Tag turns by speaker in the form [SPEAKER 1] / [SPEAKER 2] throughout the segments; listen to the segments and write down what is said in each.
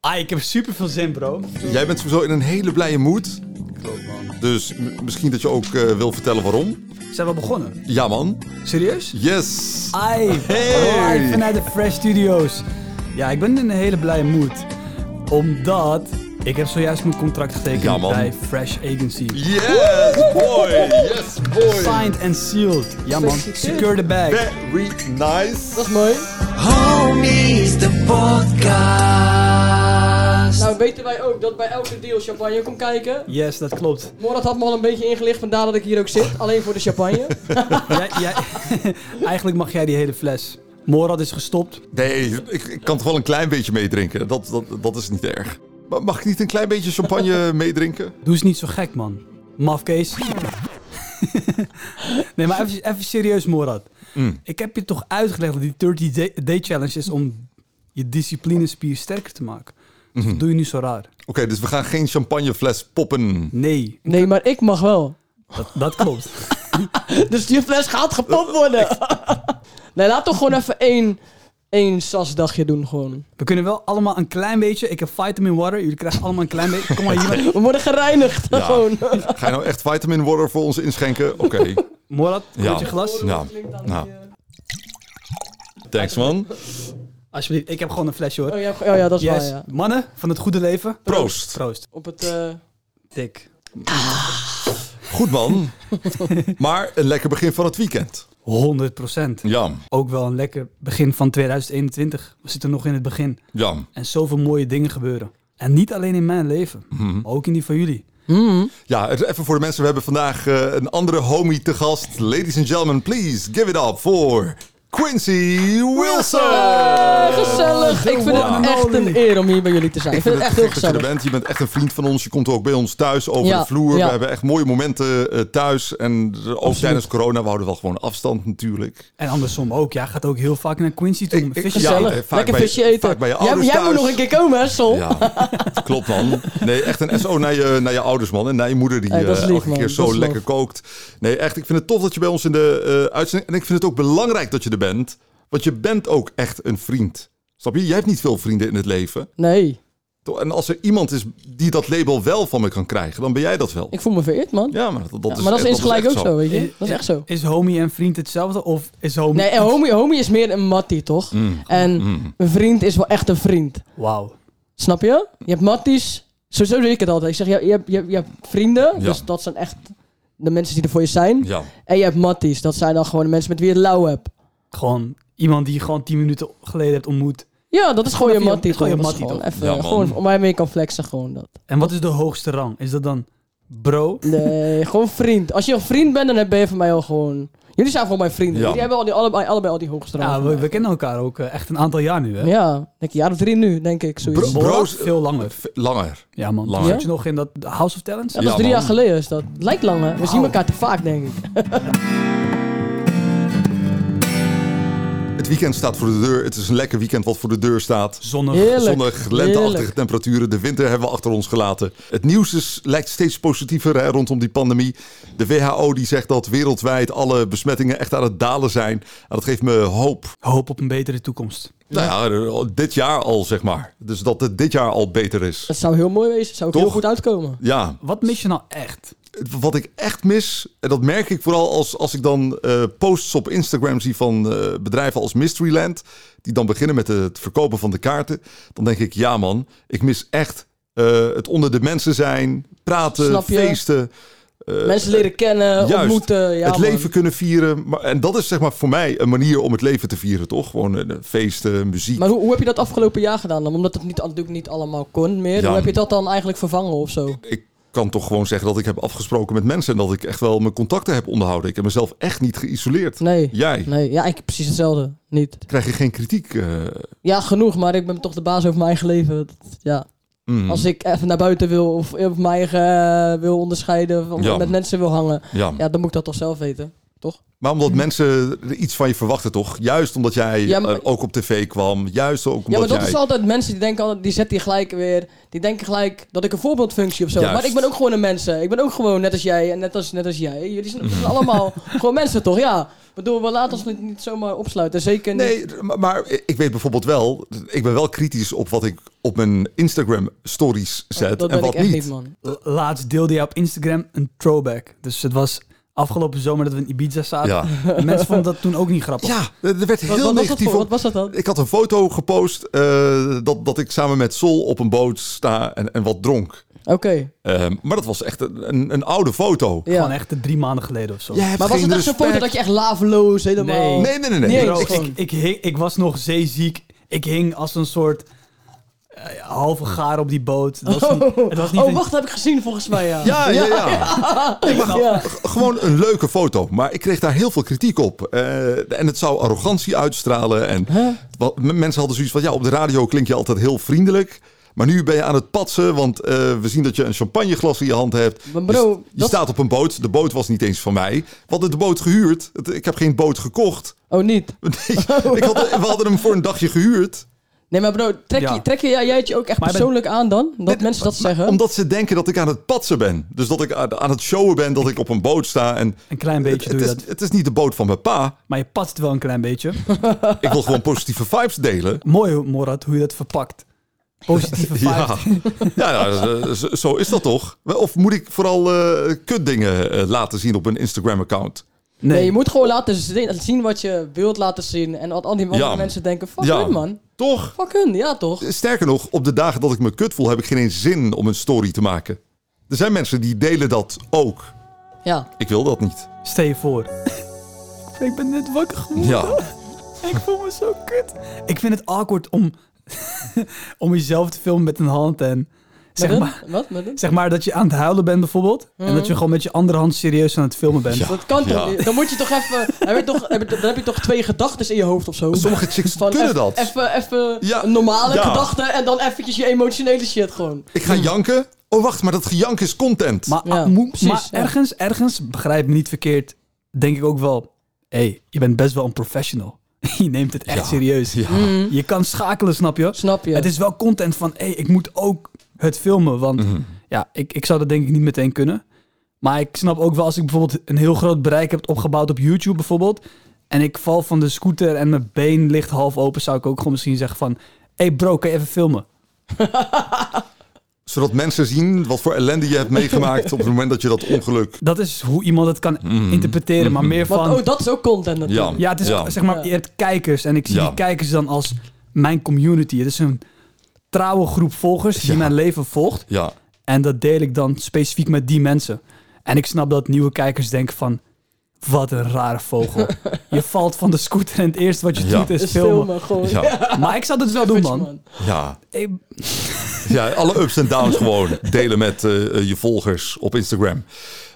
[SPEAKER 1] Ah, ik heb super veel zin, bro.
[SPEAKER 2] Jij bent sowieso in een hele blije moed.
[SPEAKER 1] Klopt, man.
[SPEAKER 2] Dus m- misschien dat je ook eh, wil vertellen waarom.
[SPEAKER 1] Zijn we al begonnen?
[SPEAKER 2] Ja, man.
[SPEAKER 1] Serieus?
[SPEAKER 2] Yes.
[SPEAKER 1] Ai,
[SPEAKER 2] Hey.
[SPEAKER 1] live vanuit de Fresh Studios. Ja, ik ben in een hele blije mood. Omdat ik heb zojuist mijn contract getekend
[SPEAKER 2] Ja, man.
[SPEAKER 1] bij Fresh Agency.
[SPEAKER 2] Yes, boy. Yes, boy.
[SPEAKER 1] Signed and sealed. Ja man, secure the bag.
[SPEAKER 2] Very nice.
[SPEAKER 3] Dat is mooi.
[SPEAKER 4] Homies, de podcast.
[SPEAKER 3] Nou weten wij ook dat bij elke deal champagne komt kijken.
[SPEAKER 1] Yes, dat klopt.
[SPEAKER 3] Morat had me al een beetje ingelicht, vandaar dat ik hier ook zit. Alleen voor de champagne.
[SPEAKER 1] Jij, jij- eigenlijk mag jij die hele fles. Morad is gestopt.
[SPEAKER 2] Nee, ik, ik kan toch wel een klein beetje meedrinken. Dat, dat, dat is niet erg. Maar mag ik niet een klein beetje champagne meedrinken?
[SPEAKER 1] Doe eens niet zo gek, man. Mafkees. nee, maar even, even serieus, Morad. Ik heb je toch uitgelegd dat die 30-day challenge is om je disciplinespier sterker te maken. Dus wat doe je nu zo raar?
[SPEAKER 2] Oké, dus we gaan geen champagnefles poppen.
[SPEAKER 1] Nee,
[SPEAKER 3] Nee, maar ik mag wel.
[SPEAKER 1] dat, dat klopt.
[SPEAKER 3] Dus die fles gaat gepopt worden. nee, laat toch gewoon even één, één sasdagje doen gewoon.
[SPEAKER 1] We kunnen wel allemaal een klein beetje... Ik heb vitamin water. Jullie krijgen allemaal een klein beetje... Kom maar hier.
[SPEAKER 3] We worden gereinigd
[SPEAKER 2] Ja.
[SPEAKER 3] gewoon.
[SPEAKER 2] Ga je nou echt vitamin water voor ons inschenken? Oké.
[SPEAKER 1] Morad,
[SPEAKER 2] Ja.
[SPEAKER 1] ja. je glas?
[SPEAKER 2] Nou, nou.
[SPEAKER 3] eh,
[SPEAKER 2] Thanks, man.
[SPEAKER 1] Alsjeblieft, ik heb gewoon een flesje, hoor.
[SPEAKER 3] Oh ja, oh ja, dat is
[SPEAKER 1] Yes,
[SPEAKER 3] waar, ja.
[SPEAKER 1] mannen van het goede leven.
[SPEAKER 2] Proost.
[SPEAKER 1] Proost.
[SPEAKER 3] Op het... eh,
[SPEAKER 1] Dik.
[SPEAKER 2] Goed, man. Maar een lekker begin van het weekend.
[SPEAKER 1] 100 procent.
[SPEAKER 2] Jam,
[SPEAKER 1] Ook wel een lekker begin van 2021. We zitten nog in het begin.
[SPEAKER 2] jam.
[SPEAKER 1] En zoveel mooie dingen gebeuren. En niet alleen in mijn leven,
[SPEAKER 2] Mhm.
[SPEAKER 1] maar ook in die van jullie.
[SPEAKER 2] Ja, even voor de mensen. We hebben vandaag eh, een andere homie te gast. Ladies and gentlemen, please give it up voor Quincy Wilson.
[SPEAKER 3] eh, gezellig. Ik vind
[SPEAKER 1] one
[SPEAKER 3] het
[SPEAKER 1] and
[SPEAKER 3] echt
[SPEAKER 1] only.
[SPEAKER 3] een eer om hier bij jullie te zijn. Ik vind het echt heel
[SPEAKER 2] Gek dat je
[SPEAKER 3] gezellig.
[SPEAKER 2] er bent. Je bent echt een vriend van ons. Je komt ook bij ons thuis over
[SPEAKER 3] Ja,
[SPEAKER 2] de vloer.
[SPEAKER 3] ja.
[SPEAKER 2] We hebben echt mooie momenten eh, thuis. En eh, ook tijdens corona, we houden wel gewoon afstand natuurlijk.
[SPEAKER 1] En andersom ook. Jij gaat ook heel vaak naar Quincy toe om een
[SPEAKER 2] ik-
[SPEAKER 1] visje te
[SPEAKER 2] ja,
[SPEAKER 1] eten.
[SPEAKER 3] Gezellig.
[SPEAKER 2] eh, vaak
[SPEAKER 3] Lekker
[SPEAKER 2] bij-
[SPEAKER 3] visje eten.
[SPEAKER 2] vaak bij je
[SPEAKER 3] jij
[SPEAKER 2] ouders
[SPEAKER 3] jij moet
[SPEAKER 2] thuis.
[SPEAKER 3] nog een keer komen, hè, Sol?
[SPEAKER 2] Ja, klopt man. Nee, echt een SO naar je, naar je ouders man. En naar je moeder die
[SPEAKER 3] Hey, dat is
[SPEAKER 2] eh,
[SPEAKER 3] lief,
[SPEAKER 2] elke
[SPEAKER 3] man.
[SPEAKER 2] keer
[SPEAKER 3] Dat
[SPEAKER 2] zo
[SPEAKER 3] is
[SPEAKER 2] lekker
[SPEAKER 3] lief.
[SPEAKER 2] kookt. Nee, echt. Ik vind het tof dat je bij ons in de eh, uitzending... En ik vind het ook belangrijk dat je er bent. Want je bent ook echt een vriend. Snap je? Jij hebt niet veel vrienden in het leven.
[SPEAKER 3] Nee,
[SPEAKER 2] Toch? En als er iemand is die dat label wel van me kan krijgen, dan ben jij dat wel.
[SPEAKER 3] ik voel me vereerd, man.
[SPEAKER 2] Ja, maar Dus dat, dat is
[SPEAKER 3] maar dat is insgelijk
[SPEAKER 2] echt
[SPEAKER 3] ook zo, weet je. Dat is echt zo.
[SPEAKER 1] Is homie en vriend hetzelfde? Of is homie...
[SPEAKER 3] Eh, Nee, en homie, homie is meer een mattie, toch?
[SPEAKER 2] Mm.
[SPEAKER 3] En een vriend is wel echt een vriend.
[SPEAKER 1] Wauw.
[SPEAKER 3] Snap je? Je hebt matties. Sowieso doe ik het altijd. Ik zeg, je, je, hebt- je, hebt- je hebt vrienden.
[SPEAKER 2] Ja.
[SPEAKER 3] Dus dat zijn echt de mensen die er voor je zijn.
[SPEAKER 2] Ja.
[SPEAKER 3] En je hebt matties. Dat zijn dan gewoon de mensen met wie je het lauw hebt.
[SPEAKER 1] Gewoon iemand die je gewoon tien minuten geleden hebt ontmoet.
[SPEAKER 3] Ja, dat is gewoon je
[SPEAKER 1] Gewoon
[SPEAKER 3] mattie.
[SPEAKER 1] even- gewoon je
[SPEAKER 3] toch? Dat is
[SPEAKER 1] mattie,
[SPEAKER 3] gewoon
[SPEAKER 2] Ja,
[SPEAKER 3] Even,
[SPEAKER 2] man.
[SPEAKER 3] gewoon om mij mee kan flexen, gewoon dat.
[SPEAKER 1] En wat is de hoogste rang? Is dat dan bro?
[SPEAKER 3] Nee, gewoon vriend. Als je een vriend bent, dan ben je van mij al gewoon... Jullie zijn gewoon mijn vrienden.
[SPEAKER 2] Ja.
[SPEAKER 3] Jullie hebben al die, allebei, allebei al die hoogste
[SPEAKER 1] Ja,
[SPEAKER 3] rangen.
[SPEAKER 1] we, we kennen elkaar ook eh, echt een aantal jaar nu, hè?
[SPEAKER 3] Ja, denk je, ja, de drie nu, denk ik, zoiets.
[SPEAKER 2] Bro-
[SPEAKER 1] Behoorlijk
[SPEAKER 2] Bro's-
[SPEAKER 1] veel langer.
[SPEAKER 2] V- Langer.
[SPEAKER 1] Ja, man.
[SPEAKER 2] Langer.
[SPEAKER 1] Zat je nog in dat House of Talents?
[SPEAKER 3] Ja, dat
[SPEAKER 2] Ja,
[SPEAKER 3] is drie
[SPEAKER 2] man.
[SPEAKER 3] jaar geleden, is dat. Lijkt lang, hè? We zien elkaar te vaak, denk ik.
[SPEAKER 2] Het weekend staat voor de deur. Het is een lekker weekend wat voor de deur staat.
[SPEAKER 1] Zonnig.
[SPEAKER 3] Heerlijk.
[SPEAKER 2] Zonnig, lenteachtige
[SPEAKER 3] Heerlijk.
[SPEAKER 2] temperaturen. De winter hebben we achter ons gelaten. Het nieuws is, lijkt steeds positiever hè, rondom die pandemie. De WHO die zegt dat wereldwijd alle besmettingen echt aan het dalen zijn. En dat geeft me hoop.
[SPEAKER 1] Hoop op een betere toekomst.
[SPEAKER 2] Nou ja, dit jaar al, zeg maar. Dus dat het dit jaar al beter is.
[SPEAKER 3] Dat zou heel mooi wezen. Zou ook
[SPEAKER 2] Toch?
[SPEAKER 3] heel goed uitkomen.
[SPEAKER 2] Ja,
[SPEAKER 1] Wat mis je nou echt?
[SPEAKER 2] wat ik echt mis, en dat merk ik vooral als, als ik dan eh, posts op Instagram zie van eh, bedrijven als Mysteryland, die dan beginnen met het verkopen van de kaarten, dan denk ik, ja man, ik mis echt eh, het onder de mensen zijn, praten,
[SPEAKER 3] Snap je?
[SPEAKER 2] feesten. eh,
[SPEAKER 3] Mensen leren kennen,
[SPEAKER 2] juist.
[SPEAKER 3] ontmoeten. Ja,
[SPEAKER 2] het
[SPEAKER 3] man.
[SPEAKER 2] leven kunnen vieren. Maar, en dat is zeg maar voor mij een manier om het leven te vieren, toch? Gewoon eh, feesten, muziek.
[SPEAKER 3] Maar hoe, hoe heb je dat afgelopen jaar gedaan dan? Omdat het niet, natuurlijk niet allemaal kon meer.
[SPEAKER 2] Ja.
[SPEAKER 3] Hoe heb je dat dan eigenlijk vervangen of zo?
[SPEAKER 2] ik kan toch gewoon zeggen dat ik heb afgesproken met mensen en dat ik echt wel mijn contacten heb onderhouden. Ik heb mezelf echt niet geïsoleerd.
[SPEAKER 3] Nee.
[SPEAKER 2] Jij?
[SPEAKER 3] Nee, ja, ik precies hetzelfde. Niet.
[SPEAKER 2] Krijg je geen kritiek? eh,
[SPEAKER 3] Ja, genoeg, maar ik ben toch de baas over mijn eigen leven. Dat- Ja.
[SPEAKER 2] mm,
[SPEAKER 3] Als ik even naar buiten wil of of mijn eigen eh, wil onderscheiden, of
[SPEAKER 2] Ja.
[SPEAKER 3] met mensen wil hangen,
[SPEAKER 2] ja.
[SPEAKER 3] ja, dan moet ik dat toch zelf weten. Toch?
[SPEAKER 2] Maar omdat mensen er iets van je verwachten, toch? Juist omdat jij
[SPEAKER 3] Mhm. Ja, maar-
[SPEAKER 2] eh, ook op tv kwam. Juist ook omdat
[SPEAKER 3] Ja, maar dat
[SPEAKER 2] jij...
[SPEAKER 3] is altijd mensen die denken altijd, die zetten die gelijk weer. Die denken gelijk dat ik een voorbeeldfunctie of zo. heb.
[SPEAKER 2] Juist.
[SPEAKER 3] Maar ik ben ook gewoon een mensen. Ik ben ook gewoon net als jij en net als, net als jij. Jullie zijn, we zijn allemaal gewoon mensen toch? Ja. bedoel, we laten ons niet, niet zomaar opsluiten. Zeker niet.
[SPEAKER 2] Nee, maar, maar ik weet bijvoorbeeld wel, ik ben wel kritisch op wat ik op mijn Instagram stories zet
[SPEAKER 3] Oh, dat
[SPEAKER 2] en
[SPEAKER 3] ben ik
[SPEAKER 2] wat
[SPEAKER 3] echt niet,
[SPEAKER 2] niet.
[SPEAKER 3] man.
[SPEAKER 1] La- Laatst deelde jij op Instagram een throwback. Dus het was afgelopen zomer dat we in Ibiza zaten.
[SPEAKER 2] Ja.
[SPEAKER 1] En mensen vonden dat toen ook niet grappig.
[SPEAKER 2] Ja, er werd heel
[SPEAKER 3] Wat, wat, was dat
[SPEAKER 2] negatief
[SPEAKER 3] voor?
[SPEAKER 2] op-
[SPEAKER 3] wat was dat dan?
[SPEAKER 2] Ik had een foto gepost eh, dat, dat ik samen met Sol op een boot sta en, en wat dronk.
[SPEAKER 3] Oké,
[SPEAKER 2] Eh, maar dat was echt een, een, een oude foto.
[SPEAKER 1] Gewoon
[SPEAKER 3] ja.
[SPEAKER 1] echt eh, drie maanden geleden of zo.
[SPEAKER 2] Jij hebt
[SPEAKER 3] Maar was
[SPEAKER 2] geen
[SPEAKER 3] het echt zo'n foto
[SPEAKER 2] respect.
[SPEAKER 3] dat je echt laveloos helemaal...
[SPEAKER 1] Nee.
[SPEAKER 2] Nee, nee, nee. nee.
[SPEAKER 3] Nee,
[SPEAKER 2] Ik-
[SPEAKER 1] Bro,
[SPEAKER 3] dat
[SPEAKER 1] ik,
[SPEAKER 3] is gewoon-
[SPEAKER 1] ik, hing- ik was nog zeeziek. Ik hing als een soort eh, halve gaar op die boot. Het was niet, het was niet
[SPEAKER 3] oh,
[SPEAKER 1] een-
[SPEAKER 3] wacht, dat heb ik gezien volgens mij, ja.
[SPEAKER 2] Ja, ja, ja. Ik mag-
[SPEAKER 3] Ja.
[SPEAKER 2] g- Gewoon een leuke foto. Maar ik kreeg daar heel veel kritiek op. Eh, en het zou arrogantie uitstralen. En wat, m- mensen hadden zoiets van... Ja, op de radio klink je altijd heel vriendelijk. Maar nu ben je aan het patsen. Want eh, we zien dat je een champagneglas in je hand hebt.
[SPEAKER 3] Maar bro,
[SPEAKER 2] je s- je
[SPEAKER 3] dat-
[SPEAKER 2] staat op een boot. De boot was niet eens van mij. We hadden de boot gehuurd. Het- ik heb geen boot gekocht.
[SPEAKER 3] Oh, niet.
[SPEAKER 2] Nee,
[SPEAKER 3] Oh.
[SPEAKER 2] ik had, we hadden hem voor een dagje gehuurd.
[SPEAKER 3] Nee, maar bro, trek,
[SPEAKER 1] Ja.
[SPEAKER 3] je, trek je, ja, jij het je ook echt
[SPEAKER 1] Maar je
[SPEAKER 3] persoonlijk aan dan? Dat
[SPEAKER 2] Dit-
[SPEAKER 3] mensen dat zeggen?
[SPEAKER 2] Omdat ze denken dat ik aan het patsen ben. Dus dat ik aan aan het showen ben dat ik op een boot sta. En
[SPEAKER 1] Een klein
[SPEAKER 2] het,
[SPEAKER 1] beetje
[SPEAKER 2] het
[SPEAKER 1] doe je
[SPEAKER 2] is,
[SPEAKER 1] dat.
[SPEAKER 2] het is niet de boot van mijn pa.
[SPEAKER 1] Maar je past wel een klein beetje.
[SPEAKER 2] Ik wil gewoon positieve vibes delen.
[SPEAKER 1] Mooi, hoor, Morat, hoe je dat verpakt. Positieve vibes.
[SPEAKER 2] Ja, ja, ja, zo- zo is dat toch? Of moet ik vooral eh kutdingen eh, laten zien op een Instagram-account?
[SPEAKER 3] nee.
[SPEAKER 1] Nee,
[SPEAKER 3] je moet gewoon laten zien, zien wat je wilt laten zien. En wat al die andere
[SPEAKER 2] Ja.
[SPEAKER 3] mensen denken, fuck
[SPEAKER 2] Ja.
[SPEAKER 3] hun, man.
[SPEAKER 2] Toch?
[SPEAKER 3] Fuck hun, ja toch?
[SPEAKER 2] Sterker nog, op de dagen dat ik me kut voel, heb ik geen eens zin om een story te maken. Er zijn mensen die delen dat ook.
[SPEAKER 3] Ja.
[SPEAKER 2] Ik wil dat niet.
[SPEAKER 1] stel je voor. ik ben net wakker geworden.
[SPEAKER 2] Ja.
[SPEAKER 1] Ik voel me zo kut. Ik vind het awkward om, om jezelf te filmen met een hand en... Zeg
[SPEAKER 3] Met
[SPEAKER 1] maar,
[SPEAKER 3] hun? Wat? Met hun?
[SPEAKER 1] zeg maar dat je aan het huilen bent bijvoorbeeld. En
[SPEAKER 3] Hmm.
[SPEAKER 1] dat je gewoon met je andere hand serieus aan het filmen bent.
[SPEAKER 2] Ja.
[SPEAKER 3] Dat kan toch
[SPEAKER 2] Ja.
[SPEAKER 3] niet? Dan moet je toch even... heb je toch, heb je, dan heb je toch twee gedachten in je hoofd of zo?
[SPEAKER 2] Sommige chicks
[SPEAKER 3] Van
[SPEAKER 2] kunnen
[SPEAKER 3] eff-
[SPEAKER 2] dat.
[SPEAKER 3] Even, even
[SPEAKER 2] Ja.
[SPEAKER 3] een normale
[SPEAKER 2] Ja.
[SPEAKER 3] gedachte en dan eventjes je emotionele shit gewoon.
[SPEAKER 2] Ik ga janken. Oh, wacht, maar dat gejank is content.
[SPEAKER 1] Maar,
[SPEAKER 3] Ja,
[SPEAKER 1] ah, moe-
[SPEAKER 3] precies,
[SPEAKER 1] maar
[SPEAKER 3] ja.
[SPEAKER 1] ergens, ergens, begrijp me niet verkeerd, denk ik ook wel... Hé, hey, je bent best wel een professional. je neemt het echt
[SPEAKER 2] Ja.
[SPEAKER 1] serieus.
[SPEAKER 2] Ja.
[SPEAKER 1] Je kan schakelen, snap je?
[SPEAKER 3] Hmm. Snap je?
[SPEAKER 1] Het is wel content van, hé, hey, ik moet ook het filmen. Want
[SPEAKER 2] Mhm.
[SPEAKER 1] ja, ik, ik zou dat denk ik niet meteen kunnen. Maar ik snap ook wel als ik bijvoorbeeld een heel groot bereik heb opgebouwd op YouTube bijvoorbeeld. En ik val van de scooter en mijn been ligt half open. Zou ik ook gewoon misschien zeggen van, hé hey bro, kan je even filmen?
[SPEAKER 2] Zodat mensen zien wat voor ellende je hebt meegemaakt op het moment dat je dat ongeluk...
[SPEAKER 1] Dat is hoe iemand het kan interpreteren. Maar meer van,
[SPEAKER 3] Want, oh, dat is ook content natuurlijk.
[SPEAKER 2] Ja.
[SPEAKER 1] ja, het is
[SPEAKER 2] Mhm. Ja.
[SPEAKER 1] zeg maar,
[SPEAKER 3] Ja.
[SPEAKER 1] je hebt kijkers. En ik zie
[SPEAKER 2] Ja.
[SPEAKER 1] die kijkers dan als mijn community. Het is een trouwe groep volgers die
[SPEAKER 2] Ja.
[SPEAKER 1] mijn leven volgt.
[SPEAKER 2] Ja,
[SPEAKER 1] En dat deel ik dan specifiek met die mensen. En ik snap dat nieuwe kijkers denken van... Wat een rare vogel. je valt van de scooter en het eerste wat je
[SPEAKER 2] Ja.
[SPEAKER 1] doet is
[SPEAKER 3] Dus
[SPEAKER 1] filmen.
[SPEAKER 3] filmen gewoon.
[SPEAKER 2] ja,
[SPEAKER 1] Maar ik zou dat dus wel doen, man.
[SPEAKER 2] ja.
[SPEAKER 1] Hey,
[SPEAKER 2] Ja, alle ups en downs gewoon delen met eh, eh, je volgers op Instagram.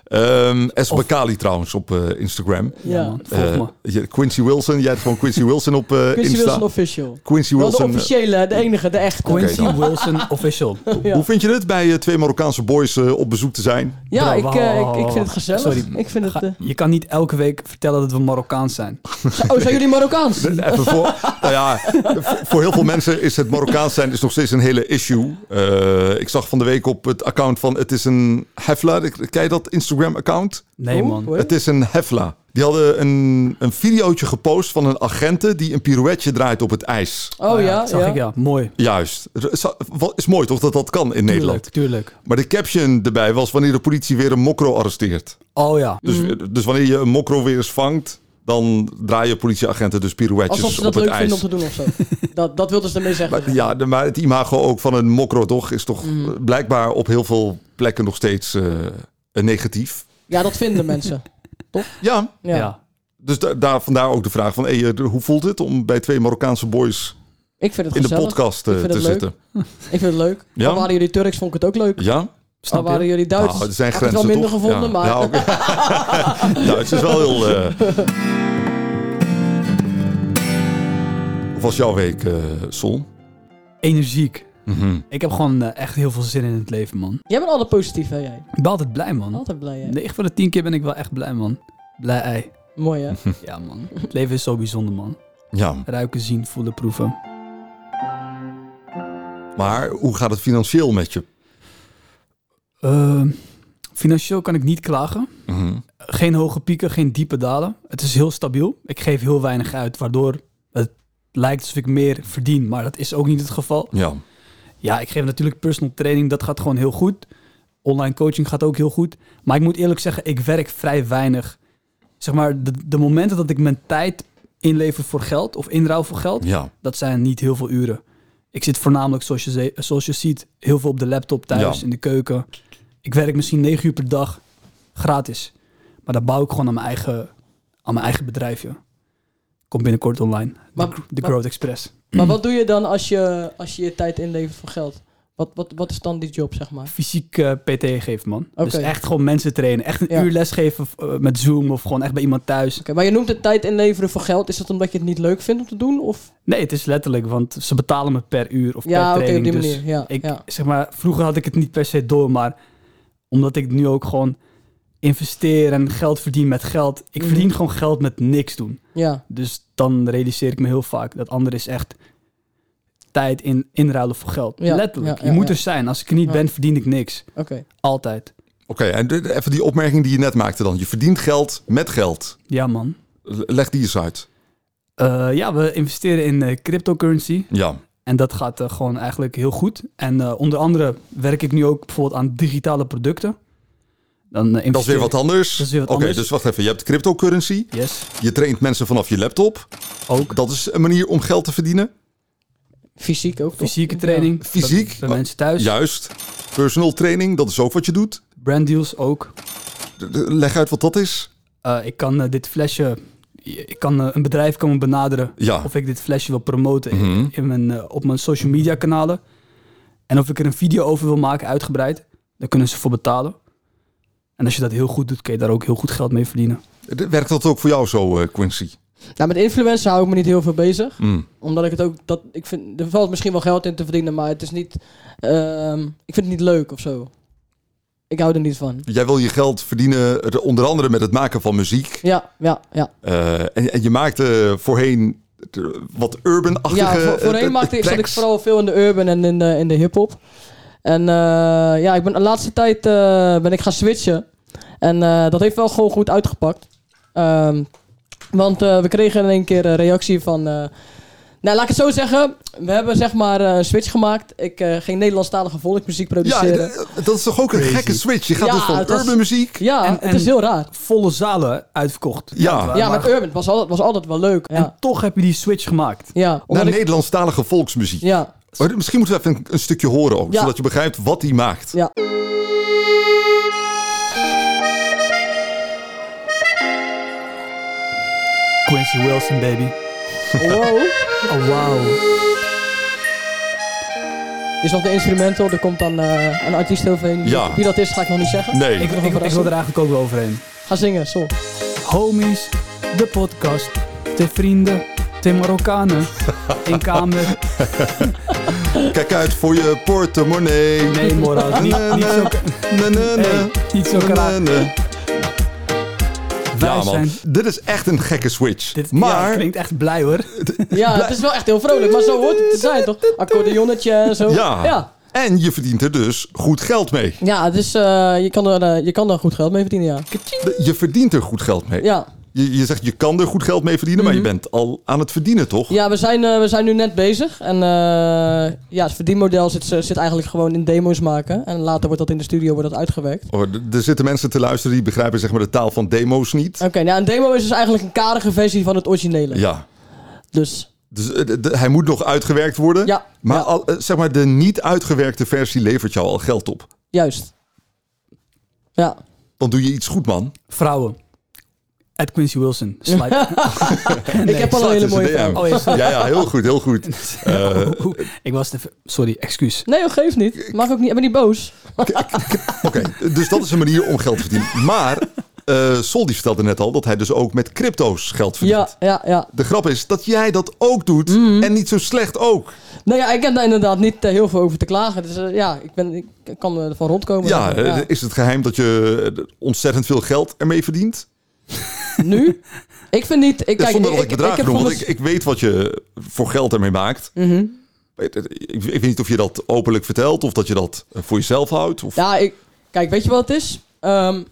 [SPEAKER 2] Ehm Esma Kali trouwens op eh, Instagram.
[SPEAKER 1] ja,
[SPEAKER 3] Ja.
[SPEAKER 1] man, volg
[SPEAKER 2] Eh,
[SPEAKER 1] me.
[SPEAKER 2] je- Quincy Wilson, jij hebt gewoon Quincy Wilson op eh,
[SPEAKER 3] Quincy
[SPEAKER 2] Insta.
[SPEAKER 3] Wilson official.
[SPEAKER 2] Quincy
[SPEAKER 3] Wel de
[SPEAKER 2] Wilson. eh,
[SPEAKER 3] officiële, de enige, de echte.
[SPEAKER 1] Quincy
[SPEAKER 2] dan.
[SPEAKER 1] Wilson official.
[SPEAKER 3] ja.
[SPEAKER 2] Hoe vind je het bij eh, twee Marokkaanse boys eh, op bezoek te zijn?
[SPEAKER 3] Ja,
[SPEAKER 1] Bro,
[SPEAKER 3] ik,
[SPEAKER 1] wacht,
[SPEAKER 3] eh,
[SPEAKER 1] wacht,
[SPEAKER 3] ik, ik
[SPEAKER 1] wacht,
[SPEAKER 3] vind het
[SPEAKER 1] wacht.
[SPEAKER 3] gezellig.
[SPEAKER 1] Sorry.
[SPEAKER 3] Ik vind het... eh,
[SPEAKER 1] Je kan niet elke week vertellen dat we Marokkaans zijn.
[SPEAKER 3] oh, zijn jullie Marokkaans?
[SPEAKER 2] Even voor, nou ja, v- voor heel veel mensen is het Marokkaans zijn is nog steeds een hele issue. Eh, ik zag van de week op het account van het is een hefla. Ken je dat Instagram-account?
[SPEAKER 1] Nee,
[SPEAKER 3] Hoe? Oh,
[SPEAKER 1] man.
[SPEAKER 3] Hoe?
[SPEAKER 2] Het is een hefla. Die hadden een, een videootje gepost van een agente die een pirouetje draait op het ijs.
[SPEAKER 3] Oh ja,
[SPEAKER 1] dat zag
[SPEAKER 3] ja.
[SPEAKER 1] ik, Nou ja. Mooi.
[SPEAKER 2] Juist. Er Is wat- is mooi toch dat dat kan in Nederland.
[SPEAKER 1] Tuurlijk, tuurlijk.
[SPEAKER 2] Maar de caption erbij was wanneer de politie weer een mokro arresteert.
[SPEAKER 1] Oh ja.
[SPEAKER 2] Dus,
[SPEAKER 3] Mhm.
[SPEAKER 2] dus wanneer je een mokro weer eens vangt, dan draaien politieagenten dus
[SPEAKER 3] Alsof
[SPEAKER 2] pirouetjes
[SPEAKER 3] ze
[SPEAKER 2] op
[SPEAKER 3] dat
[SPEAKER 2] het
[SPEAKER 3] leuk
[SPEAKER 2] ijs.
[SPEAKER 3] vinden om te doen of zo. dat, dat wilden ze ermee zeggen.
[SPEAKER 2] Maar, ja, de- maar het imago ook van een mokro toch is toch
[SPEAKER 3] Mhm.
[SPEAKER 2] blijkbaar op heel veel plekken nog steeds eh, een negatief.
[SPEAKER 3] Ja, dat vinden mensen.
[SPEAKER 2] Ja,
[SPEAKER 3] Ja.
[SPEAKER 1] ja.
[SPEAKER 2] dus da- daar, vandaar ook de vraag van hey, eh, hoe voelt het om bij twee Marokkaanse boys
[SPEAKER 3] Ik vind het
[SPEAKER 2] in de
[SPEAKER 3] gezellig.
[SPEAKER 2] podcast eh,
[SPEAKER 3] Ik vind
[SPEAKER 2] te
[SPEAKER 3] het leuk.
[SPEAKER 2] zitten?
[SPEAKER 3] Ik vind het leuk.
[SPEAKER 2] Ja?
[SPEAKER 3] Al waren jullie Turks, vond ik het ook leuk.
[SPEAKER 2] Ja?
[SPEAKER 1] Snap
[SPEAKER 3] Al waren
[SPEAKER 1] je?
[SPEAKER 3] jullie Duits.
[SPEAKER 2] Nou, er zijn
[SPEAKER 3] had ik
[SPEAKER 2] grenzen
[SPEAKER 3] wel
[SPEAKER 2] toch?
[SPEAKER 3] minder gevonden,
[SPEAKER 2] Ja.
[SPEAKER 3] maar...
[SPEAKER 2] Ja, oké. Duits is wel heel... eh. Hoe was jouw week, eh, Sol?
[SPEAKER 1] Energiek.
[SPEAKER 2] Mhm.
[SPEAKER 1] Ik heb gewoon eh, echt heel veel zin in het leven, man.
[SPEAKER 3] Jij bent altijd positief, hè jij?
[SPEAKER 1] Ik ben altijd blij, man.
[SPEAKER 3] Altijd blij, hè?
[SPEAKER 1] 9 van de 10 keer ben ik wel echt blij, man. Blij ei.
[SPEAKER 3] Mooi, hè?
[SPEAKER 1] Ja, man. Het leven is zo bijzonder, man.
[SPEAKER 2] Ja,
[SPEAKER 1] Ruiken, zien, voelen, proeven.
[SPEAKER 2] maar hoe gaat het financieel met je?
[SPEAKER 1] Ehm, Financieel kan ik niet klagen.
[SPEAKER 2] Mhm.
[SPEAKER 1] Geen hoge pieken, geen diepe dalen. Het is heel stabiel. Ik geef heel weinig uit, waardoor het lijkt alsof ik meer verdien. Maar dat is ook niet het geval.
[SPEAKER 2] Ja.
[SPEAKER 1] Ja, ik geef natuurlijk personal training. Dat gaat gewoon heel goed. Online coaching gaat ook heel goed. Maar ik moet eerlijk zeggen, ik werk vrij weinig. Zeg maar, de, de momenten dat ik mijn tijd inlever voor geld of inruil voor geld,
[SPEAKER 2] Ja.
[SPEAKER 1] dat zijn niet heel veel uren. Ik zit voornamelijk, zoals je, ze- zoals je ziet, heel veel op de laptop thuis,
[SPEAKER 2] Ja.
[SPEAKER 1] in de keuken. Ik werk misschien negen uur per dag, gratis. Maar dat bouw ik gewoon aan mijn eigen, aan mijn eigen bedrijfje. Komt binnenkort online.
[SPEAKER 3] Maar-
[SPEAKER 1] de, de
[SPEAKER 3] maar-
[SPEAKER 1] Growth Express.
[SPEAKER 3] Maar wat doe je dan als je als je, je tijd inlevert voor geld? Wat, wat, wat is dan die job, zeg maar?
[SPEAKER 1] fysiek eh, PT geven, man. Dus
[SPEAKER 3] Ah. Oké.
[SPEAKER 1] echt gewoon mensen trainen. Echt een
[SPEAKER 3] Ja.
[SPEAKER 1] uur les geven eh, met Zoom of gewoon echt bij iemand thuis.
[SPEAKER 3] Oké, maar je noemt het tijd inleveren voor geld. Is dat omdat je het niet leuk vindt om te doen? Of?
[SPEAKER 1] Nee, het is letterlijk, want ze betalen me per uur of
[SPEAKER 3] Ja,
[SPEAKER 1] per
[SPEAKER 3] oké, op
[SPEAKER 1] training.
[SPEAKER 3] die
[SPEAKER 1] dus
[SPEAKER 3] manier. Ja,
[SPEAKER 1] ik,
[SPEAKER 3] ja.
[SPEAKER 1] zeg maar, vroeger had ik het niet per se door, maar omdat ik nu ook gewoon investeer en geld verdien met geld. Ik
[SPEAKER 3] Mhm.
[SPEAKER 1] verdien gewoon geld met niks doen.
[SPEAKER 3] ja.
[SPEAKER 1] Dus dan realiseer ik me heel vaak dat ander is echt tijd in, inruilen voor geld.
[SPEAKER 3] Ja,
[SPEAKER 1] Letterlijk.
[SPEAKER 3] ja,
[SPEAKER 1] je
[SPEAKER 3] ja,
[SPEAKER 1] moet
[SPEAKER 3] ja.
[SPEAKER 1] er zijn. Als ik er niet
[SPEAKER 3] Ja.
[SPEAKER 1] ben, verdien ik niks.
[SPEAKER 3] Oké.
[SPEAKER 1] Altijd.
[SPEAKER 2] Oké, en dit- even die opmerking die je net maakte dan. Je verdient geld met geld.
[SPEAKER 1] Ja, man.
[SPEAKER 2] L- Leg die eens uit.
[SPEAKER 1] Eh, ja, we investeren in eh, cryptocurrency.
[SPEAKER 2] Ja.
[SPEAKER 1] En dat gaat eh, gewoon eigenlijk heel goed. En eh, onder andere werk ik nu ook bijvoorbeeld aan digitale producten. Dan, eh,
[SPEAKER 2] Dat is weer
[SPEAKER 1] investeer-
[SPEAKER 2] wat anders.
[SPEAKER 1] Dat is weer wat
[SPEAKER 2] Oké,
[SPEAKER 1] anders.
[SPEAKER 2] dus wacht even. Je hebt cryptocurrency.
[SPEAKER 1] Yes,
[SPEAKER 2] Je traint mensen vanaf je laptop.
[SPEAKER 1] ook.
[SPEAKER 2] Dat is een manier om geld te verdienen.
[SPEAKER 3] Fysiek ook, toch?
[SPEAKER 1] Fysieke training. bij-
[SPEAKER 2] Fysiek?
[SPEAKER 1] Bij mensen thuis.
[SPEAKER 2] Juist. Personal training, dat is ook wat je doet.
[SPEAKER 1] Brand deals ook.
[SPEAKER 2] D- d- Leg uit wat dat is.
[SPEAKER 1] Eh, ik kan eh, dit flesje... Ik kan eh, een bedrijf komen benaderen
[SPEAKER 2] Ja.
[SPEAKER 1] of ik dit flesje wil promoten in-
[SPEAKER 2] Mhm.
[SPEAKER 1] in mijn, eh, op mijn social media kanalen. En of ik er een video over wil maken, uitgebreid. Daar kunnen ze voor betalen. En als je dat heel goed doet, kun je daar ook heel goed geld mee verdienen.
[SPEAKER 2] D- Werkt dat ook voor jou zo, eh, Quincy?
[SPEAKER 3] Nou, met influencer hou ik me niet heel veel bezig.
[SPEAKER 2] Mm.
[SPEAKER 3] Omdat ik het ook... Dat, ik vind, er valt misschien wel geld in te verdienen, maar het is niet... ehm, ik vind het niet leuk of zo. Ik hou er niet van.
[SPEAKER 2] Jij wil je geld verdienen eh, onder andere met het maken van muziek.
[SPEAKER 3] Ja, ja, ja.
[SPEAKER 2] Eh, en, en je maakte voorheen eh, wat urban-achtige
[SPEAKER 3] ja voor,
[SPEAKER 2] eh,
[SPEAKER 3] voorheen
[SPEAKER 2] eh,
[SPEAKER 3] maakte ik, zat ik
[SPEAKER 2] tracks.
[SPEAKER 3] vooral veel in de urban en in de, in de hip-hop. En eh, ja, ik ben de laatste tijd eh, ben ik gaan switchen. En eh, dat heeft wel gewoon goed uitgepakt. Ehm, want eh, we kregen in één keer een reactie van. eh, nou, laat ik het zo zeggen. We hebben zeg maar eh, een switch gemaakt. Ik eh, ging Nederlandstalige volksmuziek
[SPEAKER 2] Ja,
[SPEAKER 3] produceren. Ja,
[SPEAKER 2] d- dat is toch ook een
[SPEAKER 1] Crazy.
[SPEAKER 2] gekke switch. Je gaat
[SPEAKER 3] Ja,
[SPEAKER 2] dus van
[SPEAKER 3] het was-
[SPEAKER 2] urban muziek.
[SPEAKER 1] En-
[SPEAKER 3] het is
[SPEAKER 1] en-
[SPEAKER 3] heel raar.
[SPEAKER 1] volle zalen uitverkocht.
[SPEAKER 2] Ja.
[SPEAKER 1] maar-
[SPEAKER 3] Ja,
[SPEAKER 1] maar-
[SPEAKER 3] met Urban was altijd, was altijd wel leuk.
[SPEAKER 1] En Nou,
[SPEAKER 3] Ja,
[SPEAKER 1] toch heb je die switch gemaakt.
[SPEAKER 3] ja,
[SPEAKER 2] Naar
[SPEAKER 3] omdat ik,
[SPEAKER 2] Nederlandstalige volksmuziek.
[SPEAKER 3] ja,
[SPEAKER 2] Maar Misschien moeten we even een, een stukje horen ook,
[SPEAKER 3] Ja.
[SPEAKER 2] zodat je begrijpt wat hij maakt.
[SPEAKER 3] ja.
[SPEAKER 1] Quincy Wilson, baby.
[SPEAKER 3] Wow.
[SPEAKER 1] Oh, wow.
[SPEAKER 3] Dit is nog de instrumental. Er komt dan eh, een artiest overheen.
[SPEAKER 2] Ja.
[SPEAKER 3] Wie dat is, ga ik nog niet zeggen.
[SPEAKER 2] Nee.
[SPEAKER 1] Ik,
[SPEAKER 3] nog
[SPEAKER 1] ik, ik wil er eigenlijk ook wel overheen.
[SPEAKER 3] Ga zingen, zo.
[SPEAKER 1] Homies, de podcast. Twee vrienden, twee Marokkanen. Eén kamer.
[SPEAKER 2] Kijk uit voor je portemonnee.
[SPEAKER 1] Nee, Morat. Niet, niet zo,
[SPEAKER 2] Na, na, na.
[SPEAKER 1] hey, niet zo
[SPEAKER 2] Na, na,
[SPEAKER 1] kraak.
[SPEAKER 2] na.
[SPEAKER 1] Wij
[SPEAKER 2] Ja, man.
[SPEAKER 1] zijn...
[SPEAKER 2] Dit is echt een gekke switch.
[SPEAKER 1] Dit ja,
[SPEAKER 2] maar
[SPEAKER 1] klinkt echt blij, hoor.
[SPEAKER 3] Ja, het is wel echt heel vrolijk, maar zo hoort het te zijn, toch? Accordeonnetje en zo.
[SPEAKER 2] Ja.
[SPEAKER 3] Ja,
[SPEAKER 2] En je verdient er dus goed geld mee.
[SPEAKER 3] ja het is, eh, je, kan er, eh, je kan er goed geld mee verdienen, ja.
[SPEAKER 2] Je verdient er goed geld mee.
[SPEAKER 3] Ja,
[SPEAKER 2] Je, je zegt je kan er goed geld mee verdienen, maar je bent al aan het verdienen, toch?
[SPEAKER 3] ja we, zijn, eh, we zijn nu net bezig. En eh, ja, het verdienmodel zit, eh, zit eigenlijk gewoon in demo's maken. En later wordt dat in de studio wordt dat uitgewerkt.
[SPEAKER 2] Oh, d- er zitten mensen te luisteren die begrijpen zeg maar, de taal van demo's niet.
[SPEAKER 3] Oké, nou een demo is dus eigenlijk een karige versie van het originele.
[SPEAKER 2] Ja.
[SPEAKER 3] Dus
[SPEAKER 2] Dus eh, d- d- hij moet nog uitgewerkt worden.
[SPEAKER 3] Ja,
[SPEAKER 2] Maar,
[SPEAKER 3] ja.
[SPEAKER 2] al- eh, zeg maar de niet uitgewerkte versie levert jou al geld op.
[SPEAKER 3] juist. Ja.
[SPEAKER 2] Dan doe je iets goed, man.
[SPEAKER 1] Vrouwen. At Quincy Wilson. Slide.
[SPEAKER 3] ik heb al een
[SPEAKER 2] Sluit
[SPEAKER 3] hele
[SPEAKER 2] eens
[SPEAKER 3] mooie
[SPEAKER 2] een DM.
[SPEAKER 3] vrouw.
[SPEAKER 1] Oh, is
[SPEAKER 2] Ja, ja, heel goed, heel goed. Eh,
[SPEAKER 1] Oeh, Ik was even... Sorry, excuus.
[SPEAKER 3] Nee, dat geeft niet. Mag ook niet. Ik ben niet boos.
[SPEAKER 2] Oké, dus dat is een manier om geld te verdienen. Maar eh Sol die vertelde net al dat hij dus ook met crypto's geld verdient.
[SPEAKER 3] Ja, Mhm. ja, ja.
[SPEAKER 2] De grap is dat jij dat ook doet en niet zo slecht ook.
[SPEAKER 3] Nou ja, ik heb daar inderdaad niet eh, heel veel over te klagen. Dus eh, ja, ik, ben, ik kan er van rondkomen.
[SPEAKER 2] Ja, eh,
[SPEAKER 3] Ja.
[SPEAKER 2] is het geheim dat je eh, ontzettend veel geld ermee verdient?
[SPEAKER 3] Nu? Ik vind niet... Ik,
[SPEAKER 2] Ja,
[SPEAKER 3] kijk,
[SPEAKER 2] zonder
[SPEAKER 3] ik,
[SPEAKER 2] dat ik bedragen
[SPEAKER 3] heb
[SPEAKER 2] noem,
[SPEAKER 3] voor
[SPEAKER 2] want
[SPEAKER 3] mez-
[SPEAKER 2] ik, ik weet wat je voor geld ermee maakt.
[SPEAKER 3] Mhm.
[SPEAKER 2] Ik, ik- ik weet niet of je dat openlijk vertelt of dat je dat eh, voor jezelf houdt. Of...
[SPEAKER 3] Ja, ik, kijk, weet je wat het is? ehm,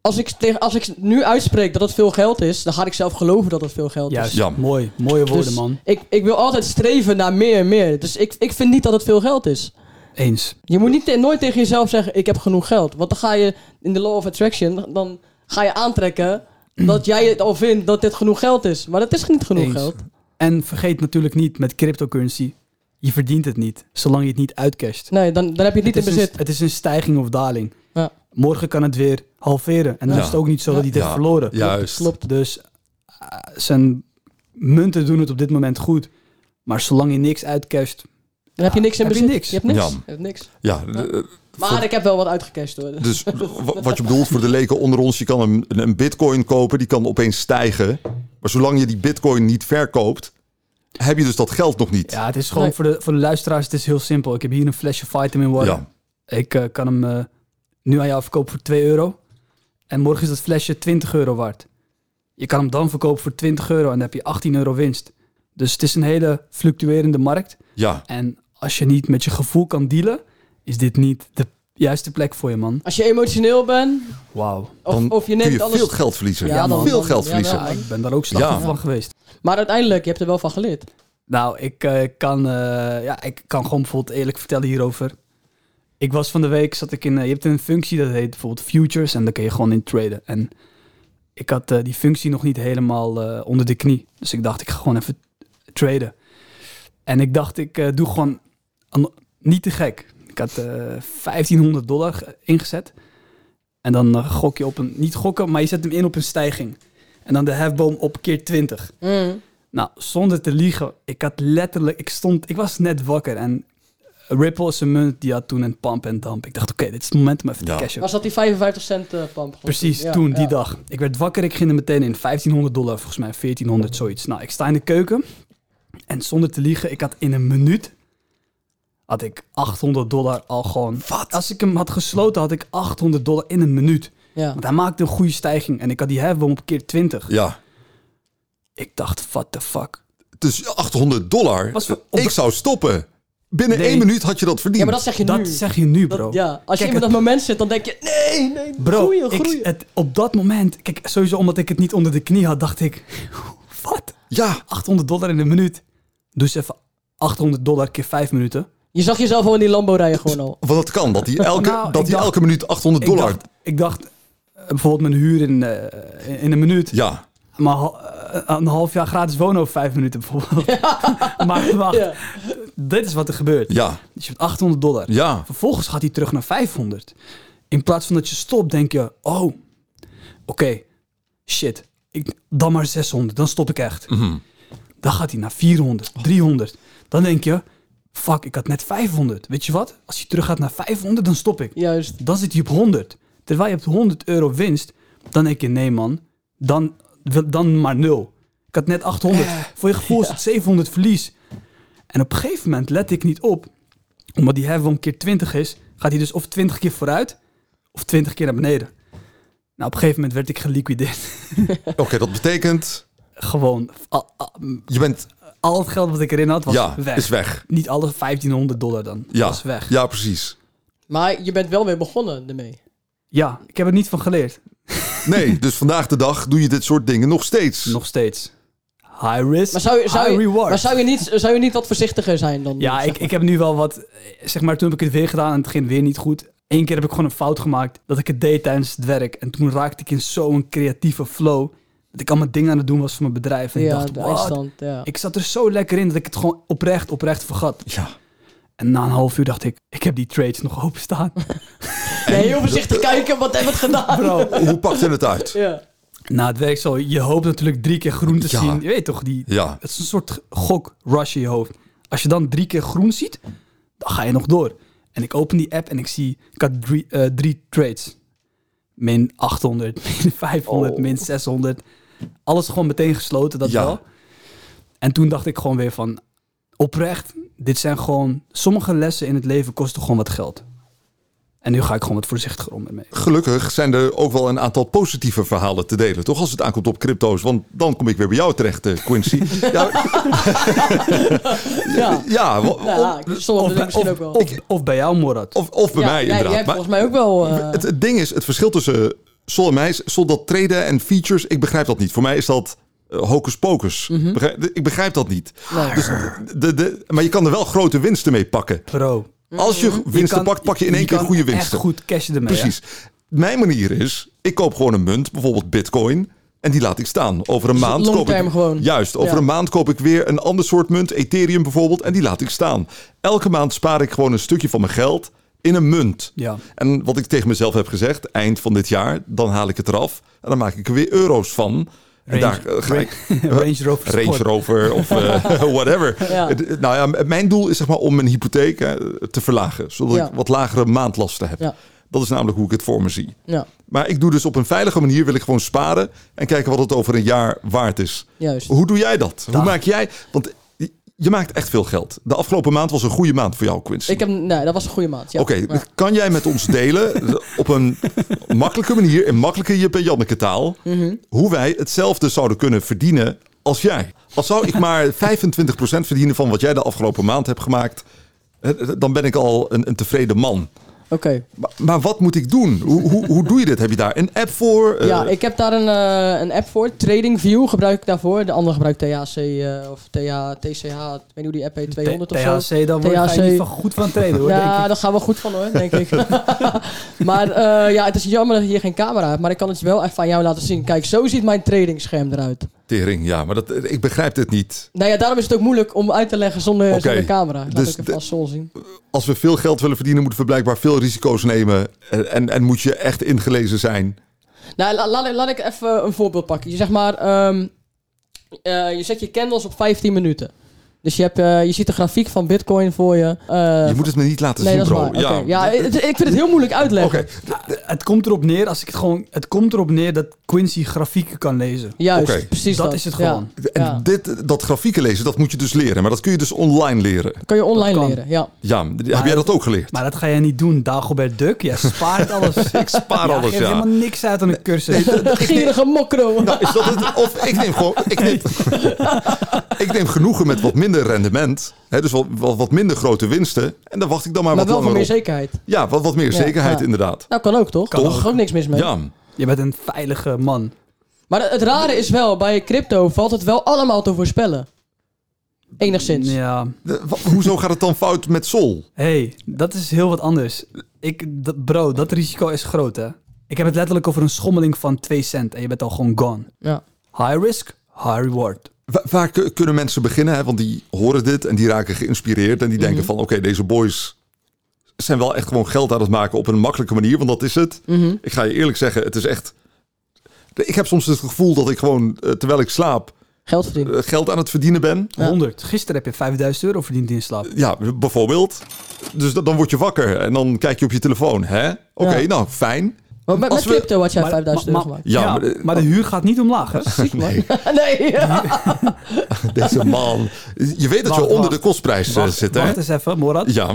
[SPEAKER 3] als, ik tegen, als ik nu uitspreek dat dat veel geld is, dan ga ik zelf geloven dat dat veel geld is.
[SPEAKER 1] Juist.
[SPEAKER 2] Jam.
[SPEAKER 1] Mooi. Mooie woorden,
[SPEAKER 3] Dus
[SPEAKER 1] man.
[SPEAKER 3] Ik, ik wil altijd streven naar meer en meer. Dus ik, ik vind niet dat het veel geld is.
[SPEAKER 1] Eens.
[SPEAKER 3] Je moet niet, te- nooit tegen jezelf zeggen, ik heb genoeg geld. Want dan ga je in de law of attraction, dan ga je aantrekken dat jij het al vindt dat dit genoeg geld is. Maar dat is niet genoeg
[SPEAKER 1] Eens.
[SPEAKER 3] geld.
[SPEAKER 1] En vergeet natuurlijk niet met cryptocurrency. Je verdient het niet, zolang je het niet uitcasht.
[SPEAKER 3] Nee, dan, dan heb je het niet
[SPEAKER 1] het,
[SPEAKER 3] in
[SPEAKER 1] is dus-
[SPEAKER 3] bezit.
[SPEAKER 1] een, het is een stijging of daling.
[SPEAKER 3] Ja.
[SPEAKER 1] Morgen kan het weer halveren. En dan
[SPEAKER 2] Ja.
[SPEAKER 1] is het ook niet zo dat hij het
[SPEAKER 2] Ja.
[SPEAKER 1] heeft verloren.
[SPEAKER 2] Juist.
[SPEAKER 1] Klopt. Dus eh, zijn munten doen het op dit moment goed. Maar zolang je niks uitcasht...
[SPEAKER 3] Dan heb je niks in
[SPEAKER 1] Heb je
[SPEAKER 3] bezit.
[SPEAKER 1] niks.
[SPEAKER 3] hebt niks.
[SPEAKER 2] Ja.
[SPEAKER 3] Je hebt niks.
[SPEAKER 2] Ja, eh,
[SPEAKER 3] Maar ik heb wel wat uitgecashed hoor.
[SPEAKER 2] dus wa- wat je bedoelt voor de leken onder ons, je kan een, een bitcoin kopen, die kan opeens stijgen. Maar zolang je die bitcoin niet verkoopt, heb je dus dat geld nog niet.
[SPEAKER 1] Ja, het is gewoon
[SPEAKER 3] Nee.
[SPEAKER 1] voor, de, voor de luisteraars het is heel simpel. Ik heb hier een flesje vitamin water.
[SPEAKER 2] Ja.
[SPEAKER 1] Ik eh, kan hem eh, nu aan jou verkopen voor 2 euro. En morgen is dat flesje 20 euro waard. Je kan hem dan verkopen voor 20 euro en dan heb je 18 euro winst. Dus het is een hele fluctuerende markt.
[SPEAKER 2] ja.
[SPEAKER 1] En als je niet met je gevoel kan dealen, is dit niet de juiste plek voor je, man.
[SPEAKER 3] Als je emotioneel bent,
[SPEAKER 1] Wauw.
[SPEAKER 3] of,
[SPEAKER 2] Dan
[SPEAKER 3] of
[SPEAKER 2] kun
[SPEAKER 3] je neemt
[SPEAKER 2] je
[SPEAKER 3] alles...
[SPEAKER 2] veel geld verliezen.
[SPEAKER 3] Ja, dan-
[SPEAKER 2] veel
[SPEAKER 3] dan-
[SPEAKER 2] geld
[SPEAKER 3] ja, wel.
[SPEAKER 2] verliezen.
[SPEAKER 1] Ja, ik ben daar ook slachtoffer
[SPEAKER 2] Ja.
[SPEAKER 1] van geweest.
[SPEAKER 3] Maar uiteindelijk, je hebt er wel van geleerd.
[SPEAKER 1] Nou, ik, eh, kan, eh, ja, ik kan gewoon bijvoorbeeld eerlijk vertellen hierover. Ik was van de week, zat ik in, eh, je hebt een functie dat heet bijvoorbeeld futures en daar kun je gewoon in traden. En ik had eh, die functie nog niet helemaal eh, onder de knie. Dus ik dacht, ik ga gewoon even traden. En ik dacht, ik eh, doe gewoon an- niet te gek. Ik had eh 1500 dollar ge- ingezet. En dan eh, gok je op een, niet gokken, maar je zet hem in op een stijging. En dan de hefboom op keer 20. Nou, zonder te liegen, ik had letterlijk, ik stond, ik was net wakker en Ripple is een munt die had toen een pump en dump. Ik dacht, oké, dit is het moment om even
[SPEAKER 2] Ja.
[SPEAKER 1] te cashen.
[SPEAKER 3] Was dat die 55 cent eh, pump?
[SPEAKER 1] Precies,
[SPEAKER 3] Ja,
[SPEAKER 1] toen, die
[SPEAKER 3] ja.
[SPEAKER 1] dag. Ik werd wakker, ik ging er meteen in. 1500 dollar, volgens mij 1400, zoiets. Nou, ik sta in de keuken en zonder te liegen, ik had in een minuut, had ik 800 dollar al gewoon. Wat? Als ik hem had gesloten, had ik 800 dollar in een minuut.
[SPEAKER 3] Ja.
[SPEAKER 1] Want hij maakte een goede stijging en ik had die hefboom op keer 20.
[SPEAKER 2] Ja.
[SPEAKER 1] Ik dacht, what the fuck.
[SPEAKER 2] Dus 800 dollar.
[SPEAKER 1] Was voor-
[SPEAKER 2] Ik zou stoppen. Binnen
[SPEAKER 1] Nee.
[SPEAKER 2] één minuut had je dat verdiend.
[SPEAKER 3] ja, maar dat zeg je
[SPEAKER 1] Dat
[SPEAKER 3] nu.
[SPEAKER 1] zeg je nu,
[SPEAKER 3] Dat-
[SPEAKER 1] bro.
[SPEAKER 3] ja, als je
[SPEAKER 1] Kijk,
[SPEAKER 3] in dat moment zit, dan denk je, nee, nee,
[SPEAKER 1] Bro,
[SPEAKER 3] groeien,
[SPEAKER 1] ik-
[SPEAKER 3] groeien.
[SPEAKER 1] het, op dat moment, kijk, sowieso omdat ik het niet onder de knie had, dacht ik, wat?
[SPEAKER 2] Ja,
[SPEAKER 1] 800 dollar in een minuut. Dus even 800 dollar keer 5 minuten.
[SPEAKER 3] Je zag jezelf al in die Lambo rijden gewoon al.
[SPEAKER 2] want het kan dat hij elke,
[SPEAKER 1] Nou, ik
[SPEAKER 2] dat hij
[SPEAKER 1] dacht-
[SPEAKER 2] elke minuut 800
[SPEAKER 1] Ik
[SPEAKER 2] dollar.
[SPEAKER 1] dacht, ik dacht eh, bijvoorbeeld mijn huur in, eh, in- in een minuut.
[SPEAKER 2] Ja,
[SPEAKER 1] Maar ha- eh, een half jaar gratis wonen over 5 minuten bijvoorbeeld. maar wacht,
[SPEAKER 3] Ja.
[SPEAKER 1] dit is wat er gebeurt.
[SPEAKER 2] ja,
[SPEAKER 1] Dus je hebt 800 dollar.
[SPEAKER 2] ja.
[SPEAKER 1] Vervolgens gaat hij terug naar 500. In plaats van dat je stopt, denk je: oh, oké, shit, ik, dan maar 600, dan stop ik echt. Dan gaat hij naar 400, 300. Dan denk je: fuck, ik had net 500. Weet je wat? Als hij terug gaat naar 500, dan stop ik.
[SPEAKER 3] Juist.
[SPEAKER 1] Dan zit hij op 100. Terwijl je hebt 100 euro winst, dan denk je: nee, man, dan, dan maar nul. Ik had net 800.
[SPEAKER 3] Eh,
[SPEAKER 1] Voor je gevoel is het 700 verlies. En op een gegeven moment let ik niet op, omdat die hefboom keer 20 is, gaat hij dus of 20 keer vooruit of 20 keer naar beneden. Nou, op een gegeven moment werd ik geliquideerd.
[SPEAKER 2] Oké, dat betekent
[SPEAKER 1] Gewoon, al, al-
[SPEAKER 2] je bent
[SPEAKER 1] al het geld wat ik erin had, was
[SPEAKER 2] ja,
[SPEAKER 1] weg.
[SPEAKER 2] is weg.
[SPEAKER 1] Niet alles 1500 dollar dan.
[SPEAKER 2] Ja,
[SPEAKER 1] Was weg. Ja.
[SPEAKER 2] ja, precies.
[SPEAKER 3] Maar je bent wel weer begonnen ermee.
[SPEAKER 1] ik heb er niet van geleerd.
[SPEAKER 2] Nee, dus vandaag de dag doe je dit soort dingen nog steeds.
[SPEAKER 1] Nog steeds. High risk,
[SPEAKER 3] Maar zou je, zou
[SPEAKER 1] high
[SPEAKER 3] je,
[SPEAKER 1] reward.
[SPEAKER 3] maar zou je, niet, zou je niet wat voorzichtiger zijn dan
[SPEAKER 1] Ja,
[SPEAKER 3] zeg
[SPEAKER 1] ik, ik heb nu wel wat... eh, Zeg maar, toen heb ik het weer gedaan en het ging weer niet goed. Eén keer heb ik gewoon een fout gemaakt dat ik het deed tijdens het werk. En toen raakte ik in zo'n creatieve flow. Dat ik allemaal dingen aan het doen was voor mijn bedrijf. En
[SPEAKER 3] ja,
[SPEAKER 1] ik dacht,
[SPEAKER 3] de
[SPEAKER 1] "What?"
[SPEAKER 3] eindstand. Ja.
[SPEAKER 1] Ik zat er zo lekker in dat ik het gewoon oprecht, oprecht vergat.
[SPEAKER 2] Ja.
[SPEAKER 1] En na een half uur dacht ik, ik heb die trades nog openstaan.
[SPEAKER 3] Ja, heel voorzichtig kijken, wat hebben we het gedaan?
[SPEAKER 1] Bro.
[SPEAKER 2] Hoe pakt het het uit?
[SPEAKER 3] Ja.
[SPEAKER 1] Nou, het werkt zo. Je hoopt natuurlijk drie keer groen te
[SPEAKER 2] Ja.
[SPEAKER 1] zien. Je weet toch, die,
[SPEAKER 2] Ja,
[SPEAKER 1] het is een soort gokrush in je hoofd. Als je dan drie keer groen ziet, dan ga je nog door. En ik open die app en ik zie, ik had drie, eh, drie trades. Min 800, min 500, min 600. Alles gewoon meteen gesloten, dat
[SPEAKER 2] Oh. Ja.
[SPEAKER 1] wel. En toen dacht ik gewoon weer van, oprecht, dit zijn gewoon... Sommige lessen in het leven kosten gewoon wat geld. En nu ga ik gewoon wat voorzichtiger om ermee.
[SPEAKER 2] Gelukkig zijn er ook wel een aantal positieve verhalen te delen, toch? Als het aankomt op crypto's, want dan kom ik weer bij jou terecht, eh, Quincy. ja,
[SPEAKER 3] Ja, Nou,
[SPEAKER 2] ja wa-
[SPEAKER 3] ja ik stond
[SPEAKER 1] Of,
[SPEAKER 3] er
[SPEAKER 1] bij-
[SPEAKER 3] misschien
[SPEAKER 1] of,
[SPEAKER 3] ook wel.
[SPEAKER 1] of, of bij jou, Morat.
[SPEAKER 2] of, of bij
[SPEAKER 3] Ja,
[SPEAKER 2] mij
[SPEAKER 3] jij-
[SPEAKER 2] inderdaad.
[SPEAKER 3] Jij hebt
[SPEAKER 2] Maar-
[SPEAKER 3] volgens mij ook wel... eh,
[SPEAKER 2] Het, het ding is, het verschil tussen Sol en mij is... Sol dat traden en features, ik begrijp dat niet. Voor mij is dat eh, hocus pocus. Begrijp- ik begrijp dat niet.
[SPEAKER 3] Mhm. nee.
[SPEAKER 2] Dus de, de, maar je kan er wel grote winsten mee pakken.
[SPEAKER 1] Bro.
[SPEAKER 3] Mm,
[SPEAKER 2] Als je
[SPEAKER 1] je
[SPEAKER 2] winsten
[SPEAKER 1] kan-
[SPEAKER 2] pakt, pak je in één keer
[SPEAKER 1] kan
[SPEAKER 2] goede winsten.
[SPEAKER 1] Echt goed cashen ermee. ja.
[SPEAKER 2] Precies. Mijn manier is, ik koop gewoon een munt, bijvoorbeeld bitcoin. En die laat ik staan. Over een
[SPEAKER 1] Dus
[SPEAKER 2] maand
[SPEAKER 3] long
[SPEAKER 2] koop ik.
[SPEAKER 3] term gewoon.
[SPEAKER 2] Juist, over
[SPEAKER 3] Ja.
[SPEAKER 2] een maand koop ik weer een ander soort munt, Ethereum bijvoorbeeld, en die laat ik staan. Elke maand spaar ik gewoon een stukje van mijn geld in een munt.
[SPEAKER 1] Ja.
[SPEAKER 2] En wat ik tegen mezelf heb gezegd, eind van dit jaar, dan haal ik het eraf en dan maak ik er weer euro's van. en
[SPEAKER 1] Range-
[SPEAKER 2] daar eh, ga ik.
[SPEAKER 1] Range Rover Sport.
[SPEAKER 2] Range Rover of eh, whatever.
[SPEAKER 3] Ja.
[SPEAKER 2] Het- Nou ja, m- mijn doel is zeg maar om mijn hypotheek hè, te verlagen. Zodat
[SPEAKER 3] Ja.
[SPEAKER 2] ik wat lagere maandlasten heb.
[SPEAKER 3] Ja.
[SPEAKER 2] Dat is namelijk hoe ik het voor me zie.
[SPEAKER 3] Ja,
[SPEAKER 2] Maar ik doe dus op een veilige manier, wil ik gewoon sparen en kijken wat het over een jaar waard is.
[SPEAKER 3] juist.
[SPEAKER 2] Hoe doe jij dat?
[SPEAKER 1] Dag.
[SPEAKER 2] Hoe maak jij? Want je maakt echt veel geld. De afgelopen maand was een goede maand voor jou, Quincy.
[SPEAKER 3] Ik heb, nee, dat was een goede maat. Ja.
[SPEAKER 2] Oké,
[SPEAKER 3] Ja.
[SPEAKER 2] kan jij met ons delen op een makkelijke manier, in makkelijke Jip en Janneke taal,
[SPEAKER 3] Mhm.
[SPEAKER 2] hoe wij hetzelfde zouden kunnen verdienen als jij? Als zou ik maar 25% verdienen van wat jij de afgelopen maand hebt gemaakt, eh, dan ben ik al een, een tevreden man.
[SPEAKER 3] Oké.
[SPEAKER 2] Maar, maar wat moet ik doen? Hoe, hoe, hoe doe je dit? Heb je daar een app voor? Eh,
[SPEAKER 3] ja, ik heb daar een, eh, een app voor. TradingView gebruik ik daarvoor. De andere gebruikt THC eh, of TH, TCH. Ik weet niet hoe die app heet, 200 of zo.
[SPEAKER 1] THC, dan word ga je
[SPEAKER 3] THC.
[SPEAKER 1] niet van goed van trainen hoor. denk
[SPEAKER 3] Ja,
[SPEAKER 1] ik.
[SPEAKER 3] daar gaan we goed van hoor, denk ik. maar eh, ja, het is jammer dat je hier geen camera hebt. Maar ik kan het je wel even aan jou laten zien. Kijk, zo ziet mijn tradingscherm eruit.
[SPEAKER 2] Tering, ja, maar dat, eh, ik begrijp dit niet.
[SPEAKER 3] Nou ja, daarom is het ook moeilijk om uit te leggen zonder,
[SPEAKER 2] Oké,
[SPEAKER 3] zonder camera. Laat
[SPEAKER 2] dus
[SPEAKER 3] ik
[SPEAKER 2] de-
[SPEAKER 3] even als Sol zien.
[SPEAKER 2] Als we veel geld willen verdienen, moeten we blijkbaar veel risico's nemen. Eh, En, en moet je echt ingelezen zijn.
[SPEAKER 3] Nou, la- laat ik- laat ik even een voorbeeld pakken. Je zeg maar, ehm, eh, je zet je candles op 15 minuten. Dus je, hebt, eh, je ziet de grafiek van Bitcoin voor je. Eh,
[SPEAKER 2] Je moet het me niet laten
[SPEAKER 3] nee,
[SPEAKER 2] zien,
[SPEAKER 3] dat is
[SPEAKER 2] bro.
[SPEAKER 3] waar. Oké, Ja, het- ik vind het heel moeilijk
[SPEAKER 2] Oké,
[SPEAKER 3] uitleggen.
[SPEAKER 1] Nou, Het komt erop neer, als ik het gewoon... Het komt erop neer dat Quincy grafieken kan lezen.
[SPEAKER 3] Juist,
[SPEAKER 2] Oké.
[SPEAKER 3] precies
[SPEAKER 1] Dat
[SPEAKER 3] dat.
[SPEAKER 1] is het
[SPEAKER 3] Ja.
[SPEAKER 1] gewoon.
[SPEAKER 2] En
[SPEAKER 3] Ja.
[SPEAKER 2] dit, dat grafieken lezen, dat moet je dus leren. Maar dat kun je dus online leren.
[SPEAKER 3] Kan je online
[SPEAKER 1] kan.
[SPEAKER 3] leren, ja.
[SPEAKER 2] Ja, heb jij dat ook geleerd?
[SPEAKER 1] Maar dat ga jij niet doen, Dagobert Duck. Jij spaart alles. ik
[SPEAKER 2] spaar alles,
[SPEAKER 1] geeft
[SPEAKER 2] ja.
[SPEAKER 1] helemaal niks uit aan een cursus.
[SPEAKER 3] Gierige mokro.
[SPEAKER 2] Nou, is dat het? Of ik neem gewoon... Ik neem, ik neem genoegen met wat minder rendement. Hè, dus wat, wat, wat minder grote winsten. En dan wacht ik dan maar,
[SPEAKER 3] maar
[SPEAKER 2] wat
[SPEAKER 3] wel voor
[SPEAKER 2] langer
[SPEAKER 3] meer
[SPEAKER 2] op.
[SPEAKER 3] zekerheid.
[SPEAKER 2] Ja, wat, wat meer
[SPEAKER 3] Ja,
[SPEAKER 2] zekerheid
[SPEAKER 3] ja.
[SPEAKER 2] inderdaad.
[SPEAKER 3] Nou, kan ook toch?
[SPEAKER 2] Kan
[SPEAKER 3] Daar is ook niks mis mee.
[SPEAKER 2] Ja,
[SPEAKER 1] Je bent een veilige man.
[SPEAKER 3] Maar het rare is wel, bij crypto valt het wel allemaal te voorspellen. Enigszins.
[SPEAKER 1] Ja.
[SPEAKER 2] De- wa- hoezo gaat het dan fout met Sol?
[SPEAKER 1] hey, dat is heel wat anders. Ik, dat, bro, dat risico is groot, hè. Ik heb het letterlijk over een schommeling van 2 cent en je bent al gewoon gone.
[SPEAKER 3] Ja.
[SPEAKER 1] High risk, high reward.
[SPEAKER 2] Wa- Waar ku- kunnen mensen beginnen? Hè? Want die horen dit en die raken geïnspireerd. En die
[SPEAKER 1] Mhm.
[SPEAKER 2] denken van, oké, deze boys zijn wel echt gewoon geld aan het maken op een makkelijke manier. Want dat is het.
[SPEAKER 3] Mhm.
[SPEAKER 2] Ik ga je eerlijk zeggen, het is echt... Ik heb soms het gevoel dat ik gewoon, eh, terwijl ik slaap,
[SPEAKER 3] Geld verdienen.
[SPEAKER 2] eh, geld aan het verdienen ben.
[SPEAKER 3] Ja.
[SPEAKER 1] 100. Gisteren heb je 5000 euro verdiend in slaap.
[SPEAKER 2] Ja, bijvoorbeeld. Dus da- dan word je wakker en dan kijk je op je telefoon. Hè? Oké,
[SPEAKER 3] Ja.
[SPEAKER 2] nou, fijn.
[SPEAKER 3] Maar met,
[SPEAKER 2] als
[SPEAKER 3] met
[SPEAKER 2] we-
[SPEAKER 3] crypto had jij
[SPEAKER 1] Maar-
[SPEAKER 3] 5000 euro
[SPEAKER 1] maar-
[SPEAKER 3] gemaakt.
[SPEAKER 2] Ja,
[SPEAKER 1] Ja,
[SPEAKER 2] maar de-
[SPEAKER 1] maar, de huur gaat niet omlaag, hè?
[SPEAKER 3] Ziek man. nee.
[SPEAKER 2] Deze man. Je weet dat
[SPEAKER 1] Wacht,
[SPEAKER 2] je onder
[SPEAKER 1] wacht.
[SPEAKER 2] de kostprijs eh,
[SPEAKER 1] Wacht,
[SPEAKER 2] zit, hè?
[SPEAKER 1] wacht eens even, Morat.
[SPEAKER 2] Ja.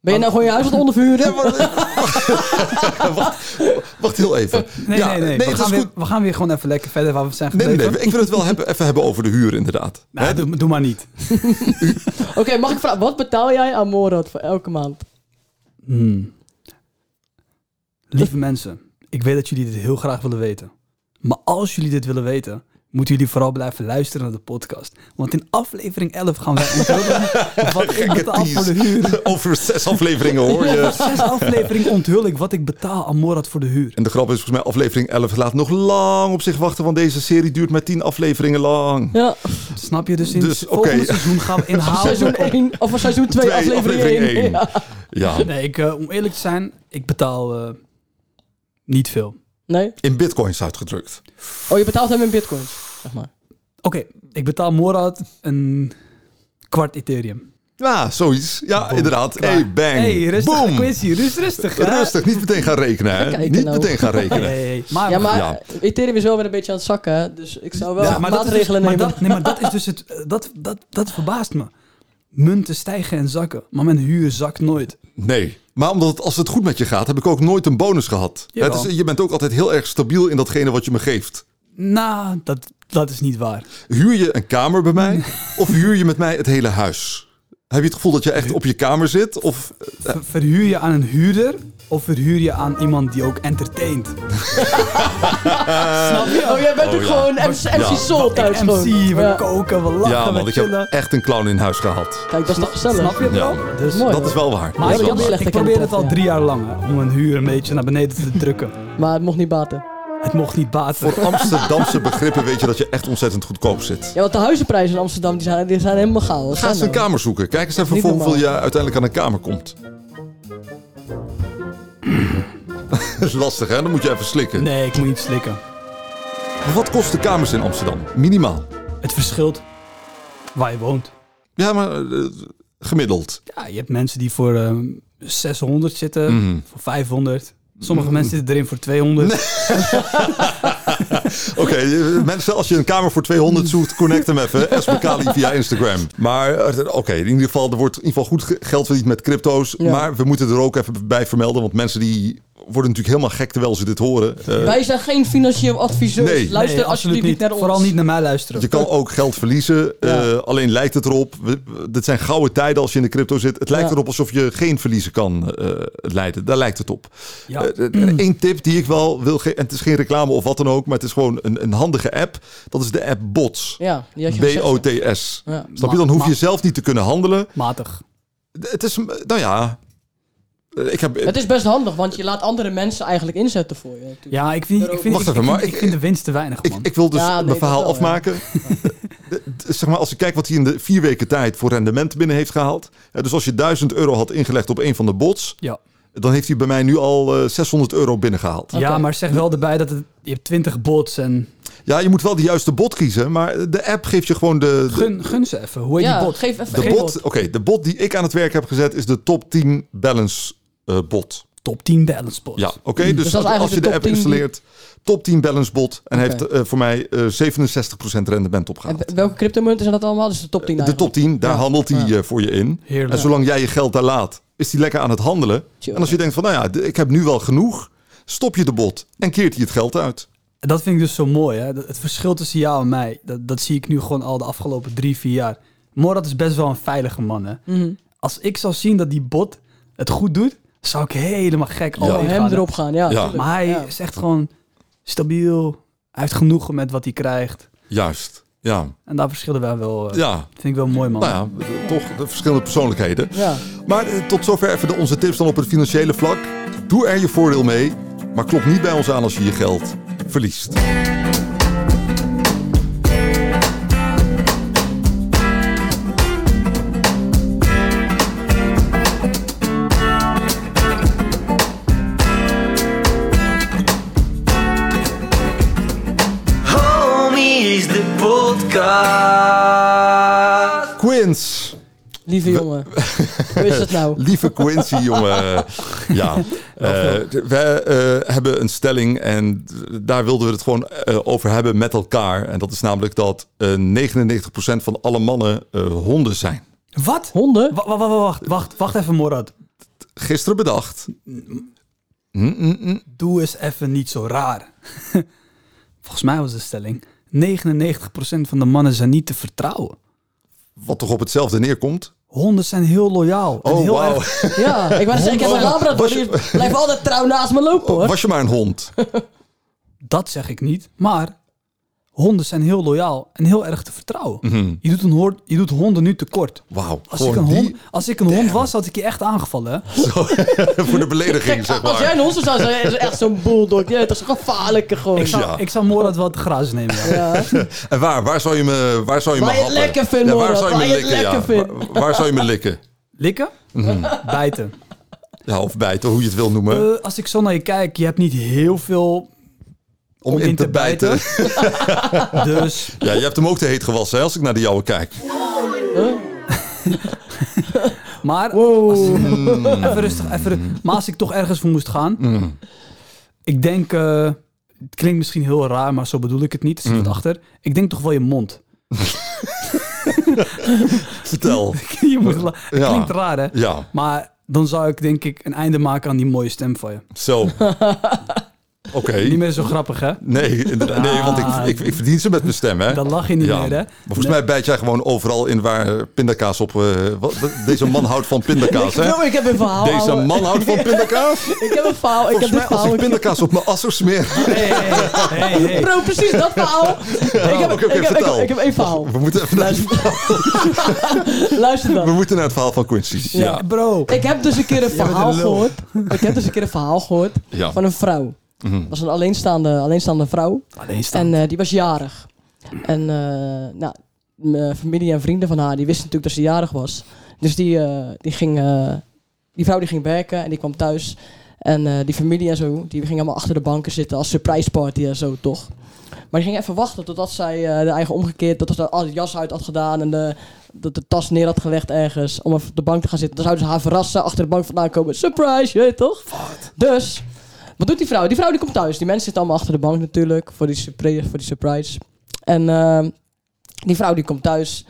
[SPEAKER 3] Ben je nou gewoon je huis aan het onderverhuren?
[SPEAKER 2] Wacht heel even.
[SPEAKER 1] Nee,
[SPEAKER 2] Ja,
[SPEAKER 1] nee, nee. we,
[SPEAKER 2] het is
[SPEAKER 1] gaan weer,
[SPEAKER 2] goed.
[SPEAKER 1] we gaan weer gewoon even lekker verder waar we zijn
[SPEAKER 2] Nee,
[SPEAKER 1] gebleven.
[SPEAKER 2] nee, nee. Ik wil het wel hebben, even hebben over de huur, inderdaad.
[SPEAKER 1] Nou,
[SPEAKER 2] Hè?
[SPEAKER 1] doe, doe maar niet.
[SPEAKER 3] Oké, mag ik vragen, wat betaal jij aan Morad voor elke maand?
[SPEAKER 1] Hmm. Lieve mensen, ik weet dat jullie dit heel graag willen weten. Maar als jullie dit willen weten, moeten jullie vooral blijven luisteren naar de podcast. Want in aflevering 11 gaan wij onthullen wat ik
[SPEAKER 2] Gekke
[SPEAKER 1] betaal voor de huur.
[SPEAKER 2] tease. Over zes afleveringen hoor
[SPEAKER 1] Over
[SPEAKER 2] je.
[SPEAKER 1] zes afleveringen onthul ik wat ik betaal aan Morad voor de huur.
[SPEAKER 2] En de grap is volgens mij aflevering 11 laat nog lang op zich wachten, want deze serie duurt maar 10 afleveringen lang.
[SPEAKER 3] Ja,
[SPEAKER 1] Snap je? Dus in
[SPEAKER 2] Dus,
[SPEAKER 1] het volgende
[SPEAKER 2] oké.
[SPEAKER 1] seizoen gaan we
[SPEAKER 3] seizoen
[SPEAKER 1] inhouden.
[SPEAKER 3] 1 of seizoen 2,
[SPEAKER 2] Ah, Twee,
[SPEAKER 3] aflevering
[SPEAKER 2] aflevering
[SPEAKER 3] 1.
[SPEAKER 2] één.
[SPEAKER 3] Ja.
[SPEAKER 2] Ja,
[SPEAKER 1] Nee, ik, eh, om eerlijk te zijn, ik betaal eh, niet veel.
[SPEAKER 3] Nee?
[SPEAKER 2] in bitcoins uitgedrukt.
[SPEAKER 3] Oh, je betaalt hem in bitcoins, zeg maar.
[SPEAKER 1] Oké, ik betaal Morad een kwart Ethereum.
[SPEAKER 2] Ja, zoiets. Ja, inderdaad.
[SPEAKER 1] Klaar.
[SPEAKER 2] Hey, bang.
[SPEAKER 1] Hey, rustig,
[SPEAKER 2] Boom.
[SPEAKER 1] Quincy, rust, rustig. hè?
[SPEAKER 2] Rustig, niet meteen gaan rekenen. Hè?
[SPEAKER 3] Kijken
[SPEAKER 2] niet
[SPEAKER 3] nou.
[SPEAKER 2] meteen gaan
[SPEAKER 1] Hey,
[SPEAKER 2] rekenen.
[SPEAKER 1] hey, hey. Maar,
[SPEAKER 3] Ja, maar
[SPEAKER 2] Ah, Ja.
[SPEAKER 3] Ethereum is wel weer een beetje aan het zakken, hè, dus ik zou wel
[SPEAKER 1] Ja, maar dat is dus-
[SPEAKER 3] maatregelen
[SPEAKER 1] maar
[SPEAKER 3] nemen.
[SPEAKER 1] dat- nee, maar dat is dus het. eh, Dat, dat, dat verbaast me. Munten stijgen en zakken, maar mijn huur zakt nooit.
[SPEAKER 2] Nee, Maar omdat het- als het goed met je gaat, heb ik ook nooit een bonus gehad.
[SPEAKER 1] Jawel.
[SPEAKER 2] Het is, je bent ook altijd heel erg stabiel in datgene wat je me geeft.
[SPEAKER 1] Nou, dat, dat is niet waar.
[SPEAKER 2] Huur je een kamer bij mij of huur je met mij het hele huis? Heb je het gevoel dat je echt op je kamer zit? Of eh,
[SPEAKER 1] Ver- verhuur je aan een huurder of verhuur je aan iemand die ook entertaint? Snap je?
[SPEAKER 3] Oh, jij bent
[SPEAKER 2] Oh,
[SPEAKER 3] ook
[SPEAKER 2] ja.
[SPEAKER 3] gewoon MC,
[SPEAKER 2] Ja.
[SPEAKER 3] Soul thuis
[SPEAKER 1] Ik MC,
[SPEAKER 3] gewoon.
[SPEAKER 1] we
[SPEAKER 3] Ja.
[SPEAKER 1] koken, we lachen,
[SPEAKER 2] ja, man,
[SPEAKER 1] we
[SPEAKER 2] ik heb
[SPEAKER 1] chillen.
[SPEAKER 2] echt een clown in huis gehad.
[SPEAKER 3] Kijk, dat is toch gezellig.
[SPEAKER 1] Snap je het
[SPEAKER 2] Ja.
[SPEAKER 1] wel? Dus,
[SPEAKER 3] Mooi.
[SPEAKER 2] Dat is wel waar.
[SPEAKER 1] Maar
[SPEAKER 2] Dat
[SPEAKER 1] ik,
[SPEAKER 2] is wel
[SPEAKER 3] heb
[SPEAKER 2] waar.
[SPEAKER 3] slecht
[SPEAKER 1] ik probeer het
[SPEAKER 3] herkend,
[SPEAKER 1] al
[SPEAKER 3] ja.
[SPEAKER 1] drie jaar lang hè, om een huur een beetje naar beneden te drukken.
[SPEAKER 3] Maar het mocht niet baten.
[SPEAKER 1] Het mocht niet baten.
[SPEAKER 2] Voor Amsterdamse begrippen weet je dat je echt ontzettend goedkoop zit.
[SPEAKER 3] Ja, want de huizenprijzen in Amsterdam die zijn, die zijn helemaal gaal.
[SPEAKER 2] Ga eens een kamer zoeken. Kijk eens even
[SPEAKER 3] Niet
[SPEAKER 2] voor hoeveel je
[SPEAKER 3] normaal.
[SPEAKER 2] uiteindelijk aan een kamer komt. Dat is lastig, hè? Dan moet je even slikken.
[SPEAKER 1] Nee, ik moet niet slikken.
[SPEAKER 2] Maar Wat kost de kamers in Amsterdam? Minimaal.
[SPEAKER 1] Het verschilt waar je woont.
[SPEAKER 2] Ja, maar eh, gemiddeld.
[SPEAKER 1] Ja, je hebt mensen die voor ehm, 600 zitten,
[SPEAKER 2] Mhm.
[SPEAKER 1] voor 500. Sommige mensen zitten erin voor 200.
[SPEAKER 2] Oké, eh, mensen, als je een kamer voor 200 zoekt, connect hem even. SBKali via Instagram. Maar eh, oké, in ieder geval, er wordt in ieder geval goed ge- geld verdiend met crypto's.
[SPEAKER 3] Ja.
[SPEAKER 2] Maar we moeten er ook even bij vermelden, want mensen die worden natuurlijk helemaal gek terwijl ze dit horen. Eh,
[SPEAKER 3] Wij zijn geen financieel adviseurs.
[SPEAKER 2] Nee.
[SPEAKER 3] Luister
[SPEAKER 1] Nee,
[SPEAKER 3] alsjeblieft niet naar ons.
[SPEAKER 1] Vooral niet naar mij luisteren.
[SPEAKER 2] Je kan ook geld verliezen,
[SPEAKER 3] Ja.
[SPEAKER 2] eh, alleen lijkt het erop. we- we- dit zijn gouden tijden als je in de crypto zit. Het lijkt
[SPEAKER 3] Ja.
[SPEAKER 2] erop alsof je geen verliezen kan eh, leiden. Daar lijkt het op.
[SPEAKER 1] Ja.
[SPEAKER 3] Mm.
[SPEAKER 2] Eén Eh, tip die ik wel wil geven, en het is geen reclame of wat dan ook, maar het is gewoon een, een handige app. Dat is de app Bots.
[SPEAKER 3] Ja, die had je gezegd.
[SPEAKER 2] B-O-T-S.
[SPEAKER 3] Ja.
[SPEAKER 2] Snap je? Dan hoef
[SPEAKER 1] Maar-
[SPEAKER 2] je zelf niet te kunnen handelen.
[SPEAKER 1] Matig.
[SPEAKER 2] Het is, nou ja. eh, Ik heb,
[SPEAKER 3] Het is best handig, want je laat andere mensen eigenlijk inzetten voor je. natuurlijk.
[SPEAKER 1] Ja, ik vind, ik vind,
[SPEAKER 2] Wacht
[SPEAKER 1] ik-
[SPEAKER 2] even,
[SPEAKER 1] ik
[SPEAKER 2] maar
[SPEAKER 1] vind-
[SPEAKER 2] ik-
[SPEAKER 1] ik vind de winst te weinig,
[SPEAKER 2] ik,
[SPEAKER 1] man.
[SPEAKER 2] ik wil dus
[SPEAKER 3] Ja, nee,
[SPEAKER 2] mijn verhaal
[SPEAKER 3] dat wel, ja.
[SPEAKER 2] afmaken. De- de- zeg maar, als ik kijk wat hij in de vier weken tijd voor rendement binnen heeft gehaald. eh, dus als je 1000 euro had ingelegd op een van de bots.
[SPEAKER 1] ja.
[SPEAKER 2] dan heeft hij bij mij nu al eh, 600 euro binnengehaald.
[SPEAKER 1] ja, maar zeg wel erbij dat het, je hebt 20 bots en
[SPEAKER 2] Ja, je moet wel de juiste bot kiezen. maar de app geeft je gewoon de. de
[SPEAKER 1] gun, gun ze even. Hoe heet
[SPEAKER 3] Ja,
[SPEAKER 1] die bot?
[SPEAKER 3] geef even
[SPEAKER 2] de
[SPEAKER 3] geen
[SPEAKER 2] bot, oké, de bot die ik aan het werk heb gezet is de top 10 balance eh, bot.
[SPEAKER 1] Top 10 balance bot.
[SPEAKER 2] Ja, oké. dus
[SPEAKER 3] Hmm. dat is eigenlijk
[SPEAKER 2] als je
[SPEAKER 3] de
[SPEAKER 2] de
[SPEAKER 3] top
[SPEAKER 2] app
[SPEAKER 3] 10 die-
[SPEAKER 2] installeert, top 10 balance bot. En
[SPEAKER 3] Oké.
[SPEAKER 2] heeft eh, voor mij eh 67% rendement
[SPEAKER 3] En
[SPEAKER 2] opgehaald.
[SPEAKER 3] w- welke cryptomunten zijn dat allemaal? Dus de top 10
[SPEAKER 2] De top 10, daar handelt hij eh, voor je in.
[SPEAKER 1] Heerlijk.
[SPEAKER 2] En zolang jij je geld daar laat, is hij lekker aan het handelen.
[SPEAKER 3] Chill.
[SPEAKER 2] En als je denkt van, nou ja, d- ik heb nu wel genoeg. Stop je de bot en keert hij het geld uit.
[SPEAKER 1] En dat vind ik dus zo mooi. Hè? Dat- Het verschil tussen jou en mij, dat, dat zie ik nu gewoon al de afgelopen drie, vier jaar. Morat is best wel een veilige man. Hè?
[SPEAKER 3] Mhm.
[SPEAKER 1] Als ik zou zien dat die bot het goed doet, zou ik helemaal gek
[SPEAKER 2] Ja.
[SPEAKER 1] al
[SPEAKER 3] Oh, hem erop gaan, ja.
[SPEAKER 2] Ja.
[SPEAKER 3] tuurlijk.
[SPEAKER 1] Maar hij
[SPEAKER 3] Ja.
[SPEAKER 1] is echt gewoon stabiel. Hij heeft genoegen met wat hij krijgt.
[SPEAKER 2] Juist, ja.
[SPEAKER 1] En daar verschillen wij wel. eh,
[SPEAKER 2] Ja,
[SPEAKER 1] Vind ik wel mooi, man.
[SPEAKER 2] nou ja, eh, toch de verschillende persoonlijkheden.
[SPEAKER 3] Ja.
[SPEAKER 2] Maar eh, tot zover even de, onze tips dan op het financiële vlak. Doe er je voordeel mee, maar klop niet bij ons aan als je je geld verliest.
[SPEAKER 4] Homies de podcast.
[SPEAKER 2] Quince.
[SPEAKER 3] Lieve jongen. Hoe is het nou?
[SPEAKER 2] Lieve Quincy, jongen. Ja. Eh, we eh, hebben een stelling en daar wilden we het gewoon eh, over hebben met elkaar. En dat is namelijk dat eh, 99% van alle mannen eh, honden zijn.
[SPEAKER 1] Wat?
[SPEAKER 3] Honden?
[SPEAKER 1] Wa- wa- wa- wa- Wacht, wacht, wacht even, Morat.
[SPEAKER 2] Gisteren bedacht. Mm,
[SPEAKER 1] Doe eens even niet zo raar. Volgens mij was de stelling: 99% van de mannen zijn niet te vertrouwen.
[SPEAKER 2] Wat toch op hetzelfde neerkomt.
[SPEAKER 1] Honden zijn heel loyaal. en
[SPEAKER 2] Oh,
[SPEAKER 1] heel
[SPEAKER 2] wauw.
[SPEAKER 1] erg-
[SPEAKER 3] Ja, ik wou net zeggen, ik heb een
[SPEAKER 2] Honden.
[SPEAKER 3] labrador.
[SPEAKER 2] Was je- Oh,
[SPEAKER 3] Die blijft altijd trouw naast me lopen, hoor.
[SPEAKER 2] Was je maar een hond.
[SPEAKER 1] Dat zeg ik niet. Maar honden zijn heel loyaal en heel erg te vertrouwen.
[SPEAKER 2] Mhm.
[SPEAKER 1] Je, doet een hoor- je doet honden nu tekort.
[SPEAKER 2] Wauw.
[SPEAKER 1] Als ik,
[SPEAKER 2] Gewoon
[SPEAKER 1] een hond,
[SPEAKER 2] die
[SPEAKER 1] als ik een hond was, had ik je echt aangevallen. Hè?
[SPEAKER 2] voor de belediging,
[SPEAKER 3] Kijk,
[SPEAKER 2] zeg
[SPEAKER 3] als jij
[SPEAKER 2] maar.
[SPEAKER 3] een hond zou zijn, zou jij- is echt zo'n bulldog. Ja, dat is een gevaarlijke gewoon.
[SPEAKER 1] Ik zou,
[SPEAKER 2] Ja.
[SPEAKER 1] ik zou Morat wel te grazen nemen. Ja.
[SPEAKER 3] Ja.
[SPEAKER 2] En waar? Waar zou je me, waar zou je
[SPEAKER 3] Waar
[SPEAKER 2] me
[SPEAKER 3] je het
[SPEAKER 2] happen?
[SPEAKER 3] lekker vindt,
[SPEAKER 2] Ja, waar
[SPEAKER 3] Morat.
[SPEAKER 2] zou je me
[SPEAKER 3] Waar je het
[SPEAKER 2] likken? ja.
[SPEAKER 3] lekker vindt.
[SPEAKER 2] Waar, waar zou je me likken?
[SPEAKER 1] Likken?
[SPEAKER 2] Mhm.
[SPEAKER 1] Bijten.
[SPEAKER 2] Ja, of bijten, hoe je het wil noemen.
[SPEAKER 1] Eh, als ik zo naar je kijk, je hebt niet heel veel
[SPEAKER 2] om, in te, bijten.
[SPEAKER 1] dus
[SPEAKER 2] Ja, je hebt hem ook te heet gewassen, hè, als ik naar de jouwe kijk.
[SPEAKER 1] Maar,
[SPEAKER 3] Wow.
[SPEAKER 1] even rustig, even, ru- maar als ik toch ergens voor moest gaan.
[SPEAKER 2] Mm.
[SPEAKER 1] Ik denk, eh, het klinkt misschien heel raar, maar zo bedoel ik het niet. Er zit
[SPEAKER 2] Mm.
[SPEAKER 1] wat achter. Ik denk toch wel je mond.
[SPEAKER 2] Vertel.
[SPEAKER 1] je moet la- het
[SPEAKER 2] Ja.
[SPEAKER 1] klinkt raar, hè?
[SPEAKER 2] Ja.
[SPEAKER 1] Maar dan zou ik denk ik een einde maken aan die mooie stem van je.
[SPEAKER 2] Zo. Oké.
[SPEAKER 1] Niet meer zo grappig, hè?
[SPEAKER 2] Nee, inderdaad. nee, want ik, ik, ik verdien ze met mijn stem, hè?
[SPEAKER 1] Dan lach je niet
[SPEAKER 2] Ja,
[SPEAKER 1] meer, hè?
[SPEAKER 2] Maar volgens mij bijt jij gewoon overal in waar pindakaas op... eh, wat, deze man houdt van pindakaas, hè?
[SPEAKER 3] Bro, ik heb een verhaal.
[SPEAKER 2] Deze
[SPEAKER 3] ouwe.
[SPEAKER 2] man houdt van pindakaas?
[SPEAKER 3] Ik heb een verhaal. Ik heb
[SPEAKER 2] Volgens
[SPEAKER 3] dit
[SPEAKER 2] mij als
[SPEAKER 3] verhaal.
[SPEAKER 2] ik pindakaas op mijn asso smeer...
[SPEAKER 1] Hey, hey, hey, hey, hey.
[SPEAKER 3] Bro, precies dat verhaal. ik, heb,
[SPEAKER 2] oké, oké,
[SPEAKER 3] ik, heb, ik, heb,
[SPEAKER 2] vertel.
[SPEAKER 3] ik heb één verhaal.
[SPEAKER 2] We moeten, even naar,
[SPEAKER 3] Luister
[SPEAKER 2] we
[SPEAKER 3] dan.
[SPEAKER 2] moeten naar het verhaal van Quincy.
[SPEAKER 3] Ja.
[SPEAKER 2] Ja.
[SPEAKER 1] Bro.
[SPEAKER 3] Ik heb dus een keer een
[SPEAKER 1] bent
[SPEAKER 3] verhaal
[SPEAKER 1] een lul.
[SPEAKER 3] gehoord. Ik heb dus een keer een verhaal gehoord
[SPEAKER 2] Ja. Mhm.
[SPEAKER 3] van een vrouw. Dat was een alleenstaande, alleenstaande vrouw.
[SPEAKER 1] Alleen staan.
[SPEAKER 3] En eh, die was jarig. En eh, nou, mijn familie en vrienden van haar, die wisten natuurlijk dat ze jarig was. Dus die, eh, die, ging, eh, die vrouw die ging werken en die kwam thuis. En eh, die familie en zo, die ging allemaal achter de banken zitten als surprise party en zo, toch? Maar die ging even wachten totdat zij eh, de eigen omgekeerd, dat ze al de jas uit had gedaan en de, dat de tas neer had gelegd ergens om even op de bank te gaan zitten. Dan zouden ze haar verrassen, achter de bank vandaan komen. Surprise, je weet toch? Dus, wat doet die vrouw? Die vrouw die komt thuis. Die mensen zitten allemaal achter de bank natuurlijk. Voor die, surpri- voor die surprise. En ehm, die vrouw die komt thuis.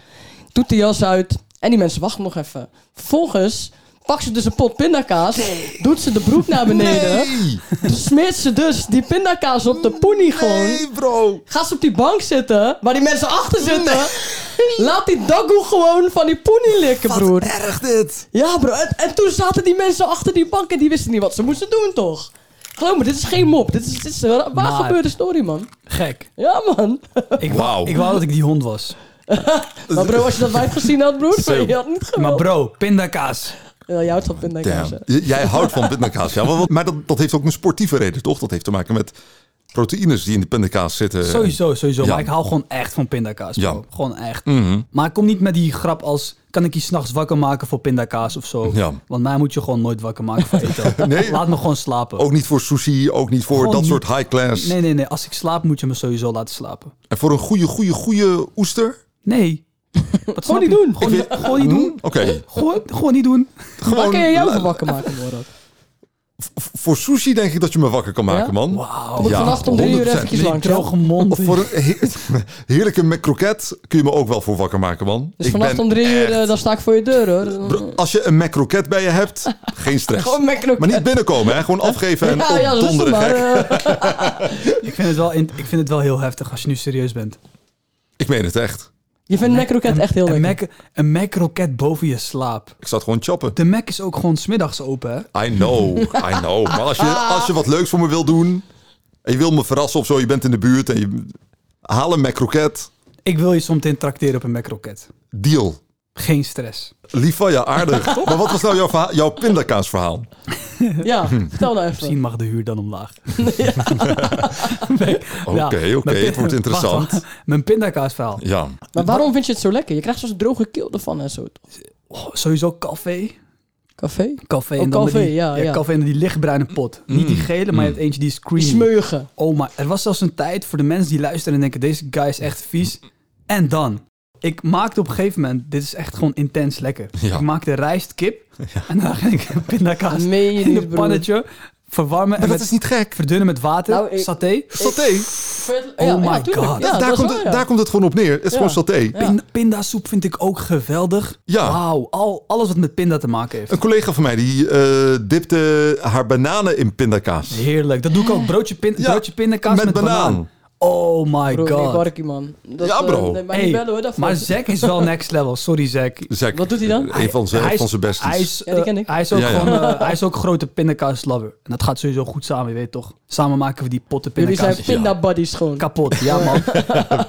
[SPEAKER 3] Doet de jas uit. En die mensen wachten nog even. Vervolgens pakt ze dus een pot pindakaas. Doet ze de broek naar beneden.
[SPEAKER 2] Nee!
[SPEAKER 3] Smeert ze dus die pindakaas op de poenie gewoon.
[SPEAKER 2] Nee, bro!
[SPEAKER 3] Gaat ze op die bank zitten. Waar die mensen achter zitten. Laat die daggoe gewoon van die poenie likken, broer.
[SPEAKER 2] Erg dit!
[SPEAKER 3] Ja, bro. En, en toen zaten die mensen achter die bank en die wisten niet wat ze moesten doen, toch? Geloof me, dit is geen mop. Dit is, dit is een ra- waar
[SPEAKER 1] Maar-
[SPEAKER 3] gebeurde story, man.
[SPEAKER 1] Gek.
[SPEAKER 3] Ja, man.
[SPEAKER 1] Ik,
[SPEAKER 2] Wauw.
[SPEAKER 1] wou, ik wou dat ik die hond was.
[SPEAKER 3] Maar bro, als je dat wijf gezien had,
[SPEAKER 2] Zo.
[SPEAKER 3] broer, je had niet
[SPEAKER 1] Maar
[SPEAKER 3] geweld.
[SPEAKER 1] bro, pindakaas.
[SPEAKER 3] Ja, jij houdt van pindakaas.
[SPEAKER 2] Damn. J- Jij houdt van pindakaas, ja. Maar, wat- maar dat, dat heeft ook een sportieve reden, toch? Dat heeft te maken met proteïnes die in de pindakaas zitten.
[SPEAKER 1] Sowieso, sowieso.
[SPEAKER 2] eh, ja.
[SPEAKER 1] Maar ik hou gewoon echt van pindakaas. Bro.
[SPEAKER 2] Ja.
[SPEAKER 1] Gewoon echt.
[SPEAKER 2] Mhm.
[SPEAKER 1] Maar ik kom niet met die grap als... kan ik je s'nachts wakker maken voor pindakaas of zo?
[SPEAKER 2] Ja.
[SPEAKER 1] Want mij moet je gewoon nooit wakker maken voor eten.
[SPEAKER 2] Nee. Oh.
[SPEAKER 1] Laat me gewoon slapen.
[SPEAKER 2] Ook niet voor sushi, ook niet voor
[SPEAKER 1] Gewoon
[SPEAKER 2] dat
[SPEAKER 1] niet.
[SPEAKER 2] soort high class.
[SPEAKER 1] Nee, nee, nee. Als ik slaap moet je me sowieso laten slapen.
[SPEAKER 2] En voor een goede, goede, goede oester?
[SPEAKER 1] Nee. Wat snap
[SPEAKER 3] niet
[SPEAKER 1] je?
[SPEAKER 3] doen.
[SPEAKER 1] Gewoon,
[SPEAKER 2] Ik weet-
[SPEAKER 1] gewoon niet doen.
[SPEAKER 2] Hm, Oké.
[SPEAKER 1] Gewoon, gewoon niet doen.
[SPEAKER 3] Waar
[SPEAKER 2] Gewoon
[SPEAKER 3] kun je jou
[SPEAKER 2] la-
[SPEAKER 3] van wakker maken, broer? Dus ook?
[SPEAKER 2] v- voor sushi denk ik dat je me wakker kan maken,
[SPEAKER 3] Ja?
[SPEAKER 2] man.
[SPEAKER 1] Wauw.
[SPEAKER 2] Ja,
[SPEAKER 3] Vannacht om drie uur
[SPEAKER 2] 100%.
[SPEAKER 3] eventjes lang,
[SPEAKER 1] Droge
[SPEAKER 3] toch?
[SPEAKER 1] mond.
[SPEAKER 2] Voor een he- heerlijke met kroket kun je me ook wel voor wakker maken, man.
[SPEAKER 3] Dus
[SPEAKER 2] Ik
[SPEAKER 3] vannacht
[SPEAKER 2] ben
[SPEAKER 3] om drie uur,
[SPEAKER 2] echt-
[SPEAKER 3] eh, dan sta ik voor je deur, hoor.
[SPEAKER 2] Bro, Als je een mac kroket bij je hebt, geen stress.
[SPEAKER 3] Gewoon met knokken.
[SPEAKER 2] maar niet binnenkomen, hè? gewoon afgeven en
[SPEAKER 3] ja, ja, rustig
[SPEAKER 2] opdonderen
[SPEAKER 3] maar.
[SPEAKER 2] gek.
[SPEAKER 3] eh.
[SPEAKER 1] Ik vind, het wel in- ik vind het wel heel heftig als je nu serieus bent.
[SPEAKER 2] Ik meen het echt.
[SPEAKER 3] Je vindt Mac-Rocket echt heel
[SPEAKER 1] Een,
[SPEAKER 3] lekker.
[SPEAKER 1] Mac, een Mac-roket boven je slaap.
[SPEAKER 2] Ik zat gewoon chappen.
[SPEAKER 1] De Mac is ook gewoon smiddags open, hè?
[SPEAKER 2] I know, I know. Maar als je,
[SPEAKER 3] Ah.
[SPEAKER 2] als je wat leuks voor me wil doen... en je wil me verrassen of zo, je bent in de buurt... en je haal een mac kroket,
[SPEAKER 1] Ik wil je soms in tracteren op een Mac-roket.
[SPEAKER 2] deal.
[SPEAKER 1] Geen stress.
[SPEAKER 2] Lief van je, aardig. maar wat was nou jouw, verhaal, jouw pindakaasverhaal?
[SPEAKER 3] Ja,
[SPEAKER 2] Hmm.
[SPEAKER 3] vertel nou even.
[SPEAKER 1] Misschien mag de huur dan omlaag.
[SPEAKER 2] Oké, oké, het wordt interessant.
[SPEAKER 1] mijn pindakaasverhaal.
[SPEAKER 2] Ja,
[SPEAKER 3] Maar waarom vind je het zo lekker? Je krijgt zo'n droge keel ervan en zo, toch?
[SPEAKER 1] Oh, sowieso café.
[SPEAKER 3] Café?
[SPEAKER 1] Café
[SPEAKER 3] Oh,
[SPEAKER 1] en dan met
[SPEAKER 3] café,
[SPEAKER 1] die,
[SPEAKER 3] ja, ja. Mm,
[SPEAKER 1] café en die lichtbruine pot. Niet die gele, maar je hebt eentje die is
[SPEAKER 3] Die
[SPEAKER 1] creamy.
[SPEAKER 3] smeugen.
[SPEAKER 1] Oh, maar er was zelfs een tijd voor de mensen die luisteren en denken: deze guy is echt vies. En dan. Ik maakte op een gegeven moment, dit is echt gewoon intens lekker.
[SPEAKER 2] Ja.
[SPEAKER 1] Ik maakte rijst, kip en dan ging ik pindakaas
[SPEAKER 3] Meen je
[SPEAKER 1] in
[SPEAKER 3] niet,
[SPEAKER 1] een
[SPEAKER 3] broer.
[SPEAKER 1] pannetje verwarmen en
[SPEAKER 2] dat
[SPEAKER 1] met,
[SPEAKER 2] is niet gek.
[SPEAKER 1] verdunnen met water,
[SPEAKER 3] Nou, ik-
[SPEAKER 1] saté.
[SPEAKER 2] Saté,
[SPEAKER 3] Ja, ja,
[SPEAKER 1] my God.
[SPEAKER 3] tuurlijk. Ja,
[SPEAKER 2] Oh daar,
[SPEAKER 3] dat is
[SPEAKER 2] komt,
[SPEAKER 3] waar,
[SPEAKER 2] het-
[SPEAKER 3] ja.
[SPEAKER 2] daar komt het gewoon op neer. Het is gewoon saté.
[SPEAKER 1] Pin- pindasoep vind ik ook geweldig.
[SPEAKER 2] Ja.
[SPEAKER 1] Wauw, al, alles wat met pinda te maken heeft.
[SPEAKER 2] Een collega van mij die eh, dipte haar bananen in pindakaas.
[SPEAKER 1] Heerlijk, dat doe ik ook. Broodje, pin,
[SPEAKER 2] Ja,
[SPEAKER 1] broodje pindakaas
[SPEAKER 2] met
[SPEAKER 1] met,
[SPEAKER 2] banaan.
[SPEAKER 1] banaan. Oh my
[SPEAKER 3] Bro, ik
[SPEAKER 1] god.
[SPEAKER 3] warkie, man. Dat,
[SPEAKER 2] Ja, bro.
[SPEAKER 3] eh, nee, maar
[SPEAKER 1] Hey,
[SPEAKER 3] niet bellen, hoor. daarvoor.
[SPEAKER 1] maar Zack is wel next level. Sorry, Zack.
[SPEAKER 2] Zeg,
[SPEAKER 3] Wat doet hij dan?
[SPEAKER 2] Dus Een van zijn, van zijn besties.
[SPEAKER 1] Hij is,
[SPEAKER 3] Ja, die
[SPEAKER 1] eh,
[SPEAKER 3] ken ik.
[SPEAKER 1] hij is ook
[SPEAKER 2] Ja, ja.
[SPEAKER 1] gewoon, eh, hij is ook grote pindakaaslover. En dat gaat sowieso goed samen, je weet toch? Samen maken we die potten
[SPEAKER 3] Jullie zijn
[SPEAKER 1] pindakaas
[SPEAKER 3] pinda-buddies gewoon.
[SPEAKER 1] kapot. Ja, man.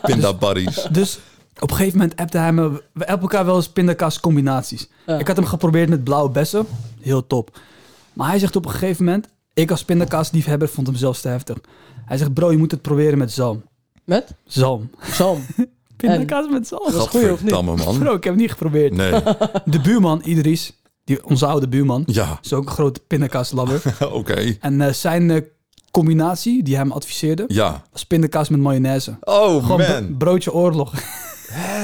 [SPEAKER 2] Pinda buddies.
[SPEAKER 1] dus op een gegeven moment appte hij me... We appen elkaar wel eens pindakaascombinaties.
[SPEAKER 3] Ja.
[SPEAKER 1] Ik had hem geprobeerd met blauwe bessen. Heel top. Maar hij zegt op een gegeven moment... Ik als pindakaasliefhebber vond hem zelfs te heftig. Hij zegt, bro, je moet het proberen met zalm.
[SPEAKER 3] Met?
[SPEAKER 1] Zalm.
[SPEAKER 3] Sam.
[SPEAKER 1] Pindakaas met zalm.
[SPEAKER 3] is goeie, of niet?
[SPEAKER 2] Gadverdamme, man.
[SPEAKER 1] Bro, ik heb het niet geprobeerd.
[SPEAKER 2] Nee,
[SPEAKER 1] De buurman, Idris, die, onze oude buurman...
[SPEAKER 2] ja,
[SPEAKER 1] is ook een grote pindakaaslabber.
[SPEAKER 2] oké.
[SPEAKER 1] En eh, zijn eh, combinatie die hij hem adviseerde
[SPEAKER 2] Ja.
[SPEAKER 1] was pindakaas met mayonaise.
[SPEAKER 2] Oh,
[SPEAKER 1] Gewoon bro-
[SPEAKER 2] man.
[SPEAKER 1] broodje oorlog.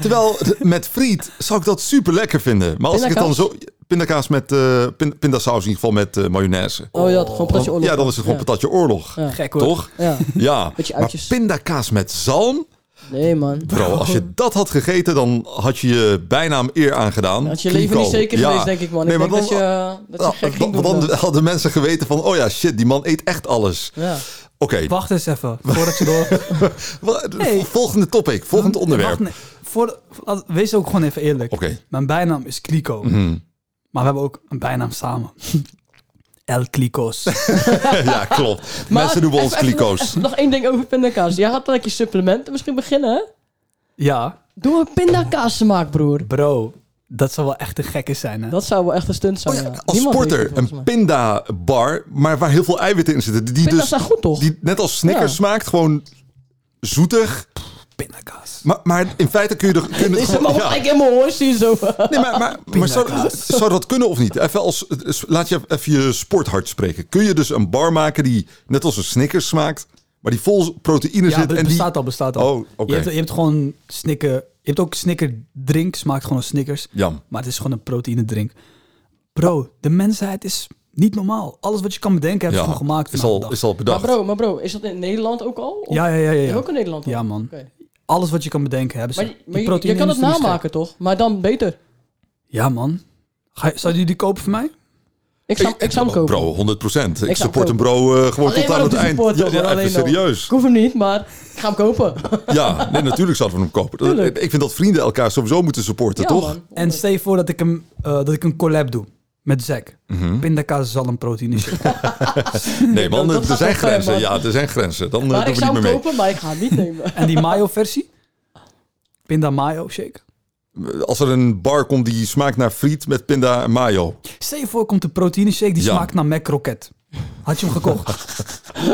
[SPEAKER 2] Terwijl d- met friet zou ik dat super lekker vinden. Maar als ik het dan zo. Pindakaas met. eh, pin- pindasaus in ieder geval met eh, mayonaise.
[SPEAKER 3] Oh ja, gewoon patatje oorlog.
[SPEAKER 2] Ja, dan is het gewoon patatje oorlog.
[SPEAKER 1] Gek hoor.
[SPEAKER 2] Toch?
[SPEAKER 3] Ja.
[SPEAKER 2] Ja.
[SPEAKER 3] Beetje
[SPEAKER 2] Maar
[SPEAKER 3] uitjes.
[SPEAKER 2] pindakaas met zalm.
[SPEAKER 3] Nee, man.
[SPEAKER 2] Bro, als je dat had gegeten, dan had je je bijnaam eer aangedaan.
[SPEAKER 3] Had je leven
[SPEAKER 2] Clico.
[SPEAKER 3] niet zeker
[SPEAKER 2] Ja.
[SPEAKER 3] geweest, denk ik, man.
[SPEAKER 2] Nee,
[SPEAKER 3] ik
[SPEAKER 2] maar
[SPEAKER 3] denk dat
[SPEAKER 2] dan-
[SPEAKER 3] je, dat je
[SPEAKER 2] Nou,
[SPEAKER 3] gek ging
[SPEAKER 2] want
[SPEAKER 3] doen.
[SPEAKER 2] dan
[SPEAKER 3] dan.
[SPEAKER 2] hadden mensen geweten van, oh ja, shit, die man eet echt alles.
[SPEAKER 3] Ja.
[SPEAKER 2] Oké,
[SPEAKER 1] Wacht eens even, voordat je door...
[SPEAKER 2] wa- de
[SPEAKER 1] Nee.
[SPEAKER 2] volgende topic, volgend onderwerp.
[SPEAKER 1] Wacht, nee. voor, laat- wees ook gewoon even eerlijk.
[SPEAKER 2] Oké, Mhm.
[SPEAKER 1] Mijn bijnaam is Clico. Maar we hebben ook een bijnaam samen. El Clicos.
[SPEAKER 2] ja, klopt.
[SPEAKER 3] Maar
[SPEAKER 2] mensen noemen ons
[SPEAKER 3] even- even
[SPEAKER 2] kliko's.
[SPEAKER 3] Nog één ding over pindakaas. Jij gaat gelijk je supplementen misschien beginnen, hè?
[SPEAKER 1] ja,
[SPEAKER 3] Doe een pindakaasmaak, broer.
[SPEAKER 1] bro. Dat zou wel echt een gekke zijn, hè?
[SPEAKER 3] Dat zou wel echt een stunt zijn,
[SPEAKER 2] Oh ja,
[SPEAKER 3] ja.
[SPEAKER 2] als
[SPEAKER 3] Niemand weet het,
[SPEAKER 2] sporter,
[SPEAKER 3] volgens
[SPEAKER 2] een
[SPEAKER 3] mij.
[SPEAKER 2] pinda-bar, maar waar heel veel eiwitten in zitten. Die,
[SPEAKER 3] Pinda's
[SPEAKER 2] dus,
[SPEAKER 3] zijn goed, toch?
[SPEAKER 2] die net als Snickers
[SPEAKER 3] Ja.
[SPEAKER 2] smaakt, gewoon zoetig.
[SPEAKER 1] Pindakaas.
[SPEAKER 2] Maar, maar in feite kun je er... Kun je
[SPEAKER 3] Is
[SPEAKER 2] het
[SPEAKER 3] er
[SPEAKER 2] gewoon-
[SPEAKER 3] maar
[SPEAKER 2] ja.
[SPEAKER 3] gelijk in mijn oor zie je zo.
[SPEAKER 2] Nee, maar, maar, maar zou, zou dat kunnen of niet? Even als, dus laat je even je sporthart spreken. Kun je dus een bar maken die net als een Snickers smaakt, maar die vol proteïne
[SPEAKER 1] Ja,
[SPEAKER 2] zit
[SPEAKER 1] be-
[SPEAKER 2] en die...
[SPEAKER 1] bestaat al, bestaat al.
[SPEAKER 2] Oh, oké.
[SPEAKER 1] je, hebt, je hebt gewoon snicker... Je hebt ook snicker drink, smaakt gewoon als snickers.
[SPEAKER 2] Jam.
[SPEAKER 1] Maar het is gewoon een proteïne drink. Bro, de mensheid is niet normaal. Alles wat je kan bedenken hebben ze
[SPEAKER 2] Ja,
[SPEAKER 1] gewoon gemaakt.
[SPEAKER 2] is
[SPEAKER 1] vandaag
[SPEAKER 2] al,
[SPEAKER 1] de
[SPEAKER 2] is al
[SPEAKER 3] Maar
[SPEAKER 2] bedacht.
[SPEAKER 3] bro, maar bro, is dat in Nederland ook al?
[SPEAKER 1] dag. ja, ja, ja, ja.
[SPEAKER 3] Is
[SPEAKER 1] ja.
[SPEAKER 3] ook in Nederland al?
[SPEAKER 1] Ja, man.
[SPEAKER 3] Oké.
[SPEAKER 1] Alles wat je kan bedenken hebben ze.
[SPEAKER 3] Maar, je-
[SPEAKER 1] Die
[SPEAKER 3] maar je- je,
[SPEAKER 1] proteïne
[SPEAKER 3] kan het
[SPEAKER 1] is niet scherp.
[SPEAKER 3] namaken, toch? Maar dan beter.
[SPEAKER 1] Ja, man. Ga, je- zou jullie die kopen voor mij?
[SPEAKER 3] Ik zou, ik, zou hem kopen.
[SPEAKER 2] Bro, 100 Ik,
[SPEAKER 3] Ik zou
[SPEAKER 2] support
[SPEAKER 3] hem
[SPEAKER 2] een bro eh, gewoon
[SPEAKER 3] Alleen
[SPEAKER 2] tot aan
[SPEAKER 3] maar om
[SPEAKER 2] het
[SPEAKER 3] te
[SPEAKER 2] eind.
[SPEAKER 3] supporten,
[SPEAKER 2] Ja,
[SPEAKER 3] man,
[SPEAKER 2] ja, even
[SPEAKER 3] alleen al.
[SPEAKER 2] serieus.
[SPEAKER 3] Ik hoef hem niet, maar ik ga hem kopen.
[SPEAKER 2] Ja, nee, natuurlijk zouden we hem kopen. Dat-
[SPEAKER 3] Tuurlijk.
[SPEAKER 2] Ik vind dat vrienden elkaar sowieso moeten supporten,
[SPEAKER 3] ja,
[SPEAKER 2] toch?
[SPEAKER 3] man.
[SPEAKER 1] En stel je voor dat ik, hem, eh, dat ik een collab doe met Zack.
[SPEAKER 2] Mhm.
[SPEAKER 1] Pindakaas is al een proteïne shake.
[SPEAKER 2] Nee, man,
[SPEAKER 3] dat-
[SPEAKER 2] er
[SPEAKER 3] dat gaat
[SPEAKER 2] zijn
[SPEAKER 3] wel ver,
[SPEAKER 2] grenzen.
[SPEAKER 3] man.
[SPEAKER 2] Ja, er zijn grenzen. Dan eh,
[SPEAKER 3] maar
[SPEAKER 2] doen
[SPEAKER 3] ik
[SPEAKER 2] we niet
[SPEAKER 3] zou
[SPEAKER 2] meer
[SPEAKER 3] hem
[SPEAKER 2] mee.
[SPEAKER 3] kopen, maar ik ga hem niet nemen.
[SPEAKER 1] en die mayo versie? Pinda mayo shake.
[SPEAKER 2] Als er een bar komt die smaakt naar friet met pinda en mayo.
[SPEAKER 1] Stel je voor komt een proteïne shake die
[SPEAKER 2] Ja.
[SPEAKER 1] smaakt naar Mac Rocket. Had je hem gekocht?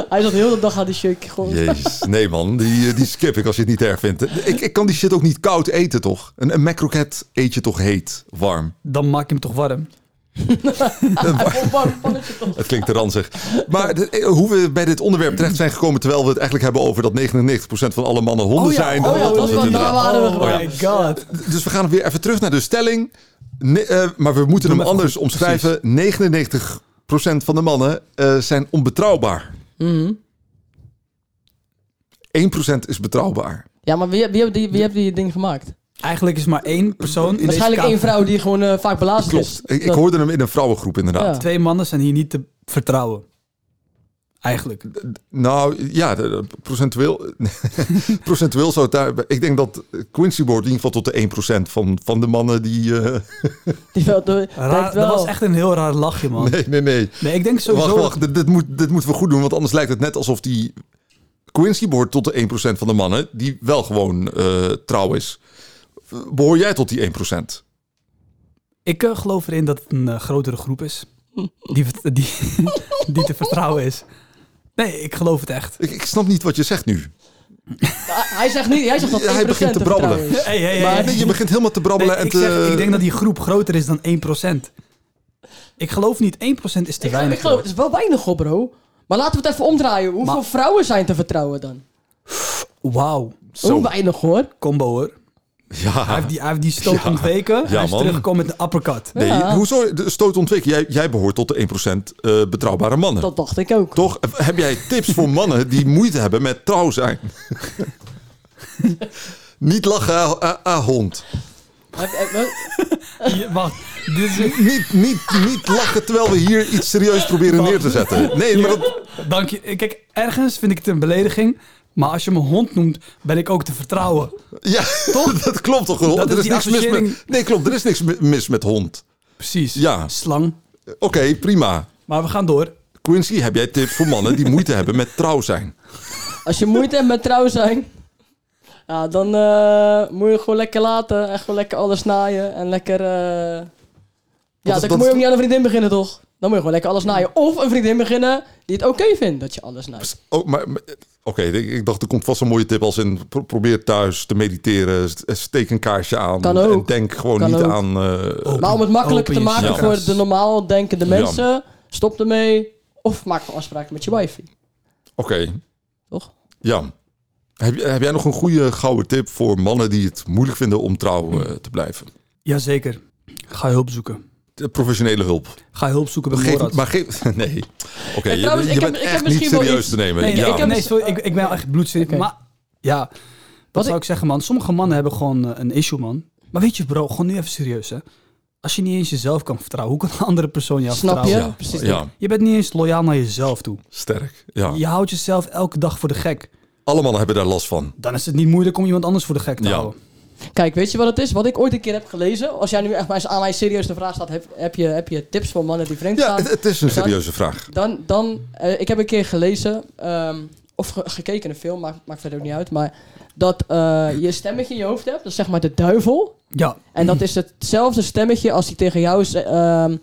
[SPEAKER 3] Hij zat heel de dag aan die shake gewoon.
[SPEAKER 2] Jezus, nee man, die, eh, die skip ik als je het niet erg vindt. Ik, ik kan die shit ook niet koud eten, toch? Een, een macroket eet je toch heet, warm?
[SPEAKER 1] Dan maak je hem toch warm.
[SPEAKER 3] Oh, Hij kon een pannetje toch.
[SPEAKER 2] Het klinkt te ranzig. Maar de- eh, hoe we bij dit onderwerp terecht zijn gekomen... terwijl we het eigenlijk hebben over dat 99% van alle mannen honden zijn.
[SPEAKER 3] oh ja, dat was wel
[SPEAKER 2] inderdaad.
[SPEAKER 3] drama. waren we
[SPEAKER 1] Oh
[SPEAKER 3] gewoon.
[SPEAKER 1] my god.
[SPEAKER 2] Dus we gaan weer even terug naar de stelling. Ne- eh, maar we moeten hem
[SPEAKER 1] maar
[SPEAKER 2] anders omschrijven. 99% van de mannen eh, zijn onbetrouwbaar.
[SPEAKER 3] Mhm.
[SPEAKER 2] 1% is betrouwbaar.
[SPEAKER 3] Ja, maar wie, wie, heeft die, wie heeft die ding gemaakt?
[SPEAKER 1] Eigenlijk is maar één persoon in
[SPEAKER 3] Waarschijnlijk
[SPEAKER 1] deze
[SPEAKER 3] één
[SPEAKER 1] kamer-
[SPEAKER 3] vrouw die gewoon eh, vaak belazerd is.
[SPEAKER 2] Klopt. Ik, ik hoorde hem in een vrouwengroep inderdaad.
[SPEAKER 3] Ja.
[SPEAKER 1] Twee mannen zijn hier niet te vertrouwen. Eigenlijk.
[SPEAKER 2] Nou ja, de- de- procentueel, procentueel zou het daar. Ik denk dat Quincy behoort in ieder geval tot de 1% van, van de mannen die. eh,
[SPEAKER 3] Die wel, de,
[SPEAKER 1] Raar,
[SPEAKER 3] denkt wel.
[SPEAKER 1] dat was echt een heel raar lachje, man. Nee,
[SPEAKER 2] nee, nee, nee.
[SPEAKER 1] ik denk sowieso...
[SPEAKER 2] Wacht, wacht. Dit, dit moet, dit moeten we goed doen, want anders lijkt het net alsof die. Quincy behoort tot de 1% van de mannen die wel gewoon eh, trouw is. Behoor jij tot die 1%?
[SPEAKER 1] Ik eh, geloof erin dat het een eh, grotere groep is. Die, vert- die, die te vertrouwen is. Nee, ik geloof het echt.
[SPEAKER 2] Ik, ik snap niet wat je zegt nu.
[SPEAKER 3] Hij, hij zegt niet, hij zegt dat 1%
[SPEAKER 2] Hij begint te
[SPEAKER 3] vertrouwen
[SPEAKER 2] brabbelen.
[SPEAKER 3] is.
[SPEAKER 1] Hey, hey, hey,
[SPEAKER 3] Maar-
[SPEAKER 1] hey.
[SPEAKER 2] Nee, je begint helemaal te brabbelen
[SPEAKER 1] Nee,
[SPEAKER 2] en
[SPEAKER 1] ik,
[SPEAKER 2] te.
[SPEAKER 1] zeg, ik denk dat die groep groter is dan 1%. Ik geloof niet, 1% is te
[SPEAKER 3] Ik, geloof- ik
[SPEAKER 1] weinig.
[SPEAKER 3] geloof, het is wel weinig op, bro. Maar laten we het even omdraaien. Hoeveel
[SPEAKER 1] Maar-
[SPEAKER 3] vrouwen zijn te vertrouwen dan?
[SPEAKER 1] Wauw,
[SPEAKER 2] Zo.
[SPEAKER 3] Hoe weinig hoor.
[SPEAKER 1] combo hoor. Hij
[SPEAKER 2] Ja.
[SPEAKER 1] heeft die, hij heeft die stoot
[SPEAKER 2] Ja.
[SPEAKER 1] ontweken.
[SPEAKER 2] Ja,
[SPEAKER 1] hij is
[SPEAKER 2] man.
[SPEAKER 1] teruggekomen met een uppercut.
[SPEAKER 2] Nee,
[SPEAKER 3] Ja.
[SPEAKER 2] hoezo? De stoot ontwikkelen. Jij, jij behoort tot de 1% eh, betrouwbare mannen.
[SPEAKER 3] Dat dacht ik ook.
[SPEAKER 2] Toch, heb jij tips voor mannen die moeite hebben met trouw zijn? Niet lachen, ah, ah, ah, hond.
[SPEAKER 3] Heb- heb- heb-
[SPEAKER 1] Je- wacht, dit is...
[SPEAKER 2] Niet, niet, niet lachen terwijl we hier iets serieus proberen neer te zetten. Nee, maar dat...
[SPEAKER 1] Dank je. Kijk, ergens vind ik het een belediging. Maar als je me hond noemt, ben ik ook te vertrouwen.
[SPEAKER 2] Ja, dat klopt toch? Hond?
[SPEAKER 1] Dat is
[SPEAKER 2] er is
[SPEAKER 1] die
[SPEAKER 2] niks mis
[SPEAKER 1] associëring.
[SPEAKER 2] met... Nee, klopt, er is niks mi- mis met hond.
[SPEAKER 1] Precies.
[SPEAKER 2] Ja.
[SPEAKER 1] Slang.
[SPEAKER 2] Oké, prima.
[SPEAKER 1] Maar we gaan door.
[SPEAKER 2] Quincy, heb jij tips voor mannen die moeite hebben met trouw zijn?
[SPEAKER 3] Als je moeite hebt met trouw zijn, ja, dan eh, moet je het gewoon lekker laten. En gewoon lekker alles naaien. En lekker. eh, Ja,
[SPEAKER 2] is-
[SPEAKER 3] dan
[SPEAKER 2] dat
[SPEAKER 3] moet
[SPEAKER 2] is-
[SPEAKER 3] je ook niet aan een vriendin beginnen, toch? Dan moet je gewoon lekker alles naaien. Of een vriendin beginnen die het oké vindt dat je alles naait.
[SPEAKER 2] Oh, maar... maar- Oké, ik, ik dacht er komt vast een mooie tip als in pro- probeer thuis te mediteren, st- steek een kaarsje aan
[SPEAKER 3] Kan ook.
[SPEAKER 2] en denk gewoon
[SPEAKER 3] Kan
[SPEAKER 2] niet
[SPEAKER 3] ook.
[SPEAKER 2] aan eh,
[SPEAKER 1] Oh.
[SPEAKER 3] Maar om het makkelijker te
[SPEAKER 1] Open
[SPEAKER 3] maken
[SPEAKER 1] jezelf.
[SPEAKER 3] voor de normaal denkende
[SPEAKER 2] Ja.
[SPEAKER 3] mensen, stop ermee. Of maak een afspraak met je wifi.
[SPEAKER 2] Oké,
[SPEAKER 3] Toch?
[SPEAKER 2] Jan. Heb, heb jij nog een goede gouden tip voor mannen die het moeilijk vinden om trouw eh, te blijven?
[SPEAKER 1] Jazeker. Ga hulp zoeken.
[SPEAKER 2] De professionele hulp.
[SPEAKER 1] Ga hulp zoeken bij
[SPEAKER 2] Geef,
[SPEAKER 1] Morat.
[SPEAKER 2] maar geef... Nee. Oké, je-
[SPEAKER 3] Eh, trouwens,
[SPEAKER 2] je,
[SPEAKER 3] ik heb-
[SPEAKER 2] bent
[SPEAKER 3] ik heb
[SPEAKER 2] echt niet
[SPEAKER 3] misschien wel
[SPEAKER 2] serieus
[SPEAKER 3] iets-
[SPEAKER 2] te nemen.
[SPEAKER 1] nee, nee,
[SPEAKER 2] Ja.
[SPEAKER 1] ik, heb- nee, sorry, ik, ik ben wel echt bloedserieus.
[SPEAKER 3] Oké.
[SPEAKER 1] Maar ja, dus- Wat
[SPEAKER 3] ik-
[SPEAKER 1] zou ik zeggen, man? Sommige mannen hebben gewoon eh, een issue, man. Maar weet je, bro, gewoon nu even serieus, hè. Als je niet eens jezelf kan vertrouwen, hoe kan een andere persoon jou
[SPEAKER 3] Snap
[SPEAKER 1] vertrouwen?
[SPEAKER 3] Ja, precies
[SPEAKER 2] ja,
[SPEAKER 1] Je bent niet eens loyaal naar jezelf toe.
[SPEAKER 2] sterk. Ja.
[SPEAKER 1] Je houdt jezelf elke dag voor de gek.
[SPEAKER 2] Alle mannen hebben daar last van.
[SPEAKER 1] Dan is het niet moeilijk om iemand anders voor de gek te
[SPEAKER 2] Ja.
[SPEAKER 1] houden.
[SPEAKER 3] Kijk, weet je wat het is? Wat ik ooit een keer heb gelezen. Als jij nu echt maar aan mij serieus de vraag staat: heb, heb, je, heb je tips voor mannen die vreemd
[SPEAKER 2] Ja,
[SPEAKER 3] gaan?
[SPEAKER 2] het, het is een
[SPEAKER 3] Dan-
[SPEAKER 2] serieuze vraag.
[SPEAKER 3] Dan, dan eh, ik heb een keer gelezen, ehm, of ge- gekeken een film, maakt, maakt verder ook niet uit, maar dat eh, je een stemmetje in je hoofd hebt, dat is zeg maar de duivel.
[SPEAKER 1] Ja,
[SPEAKER 3] En dat is hetzelfde stemmetje als die tegen jou is, eh, ehm,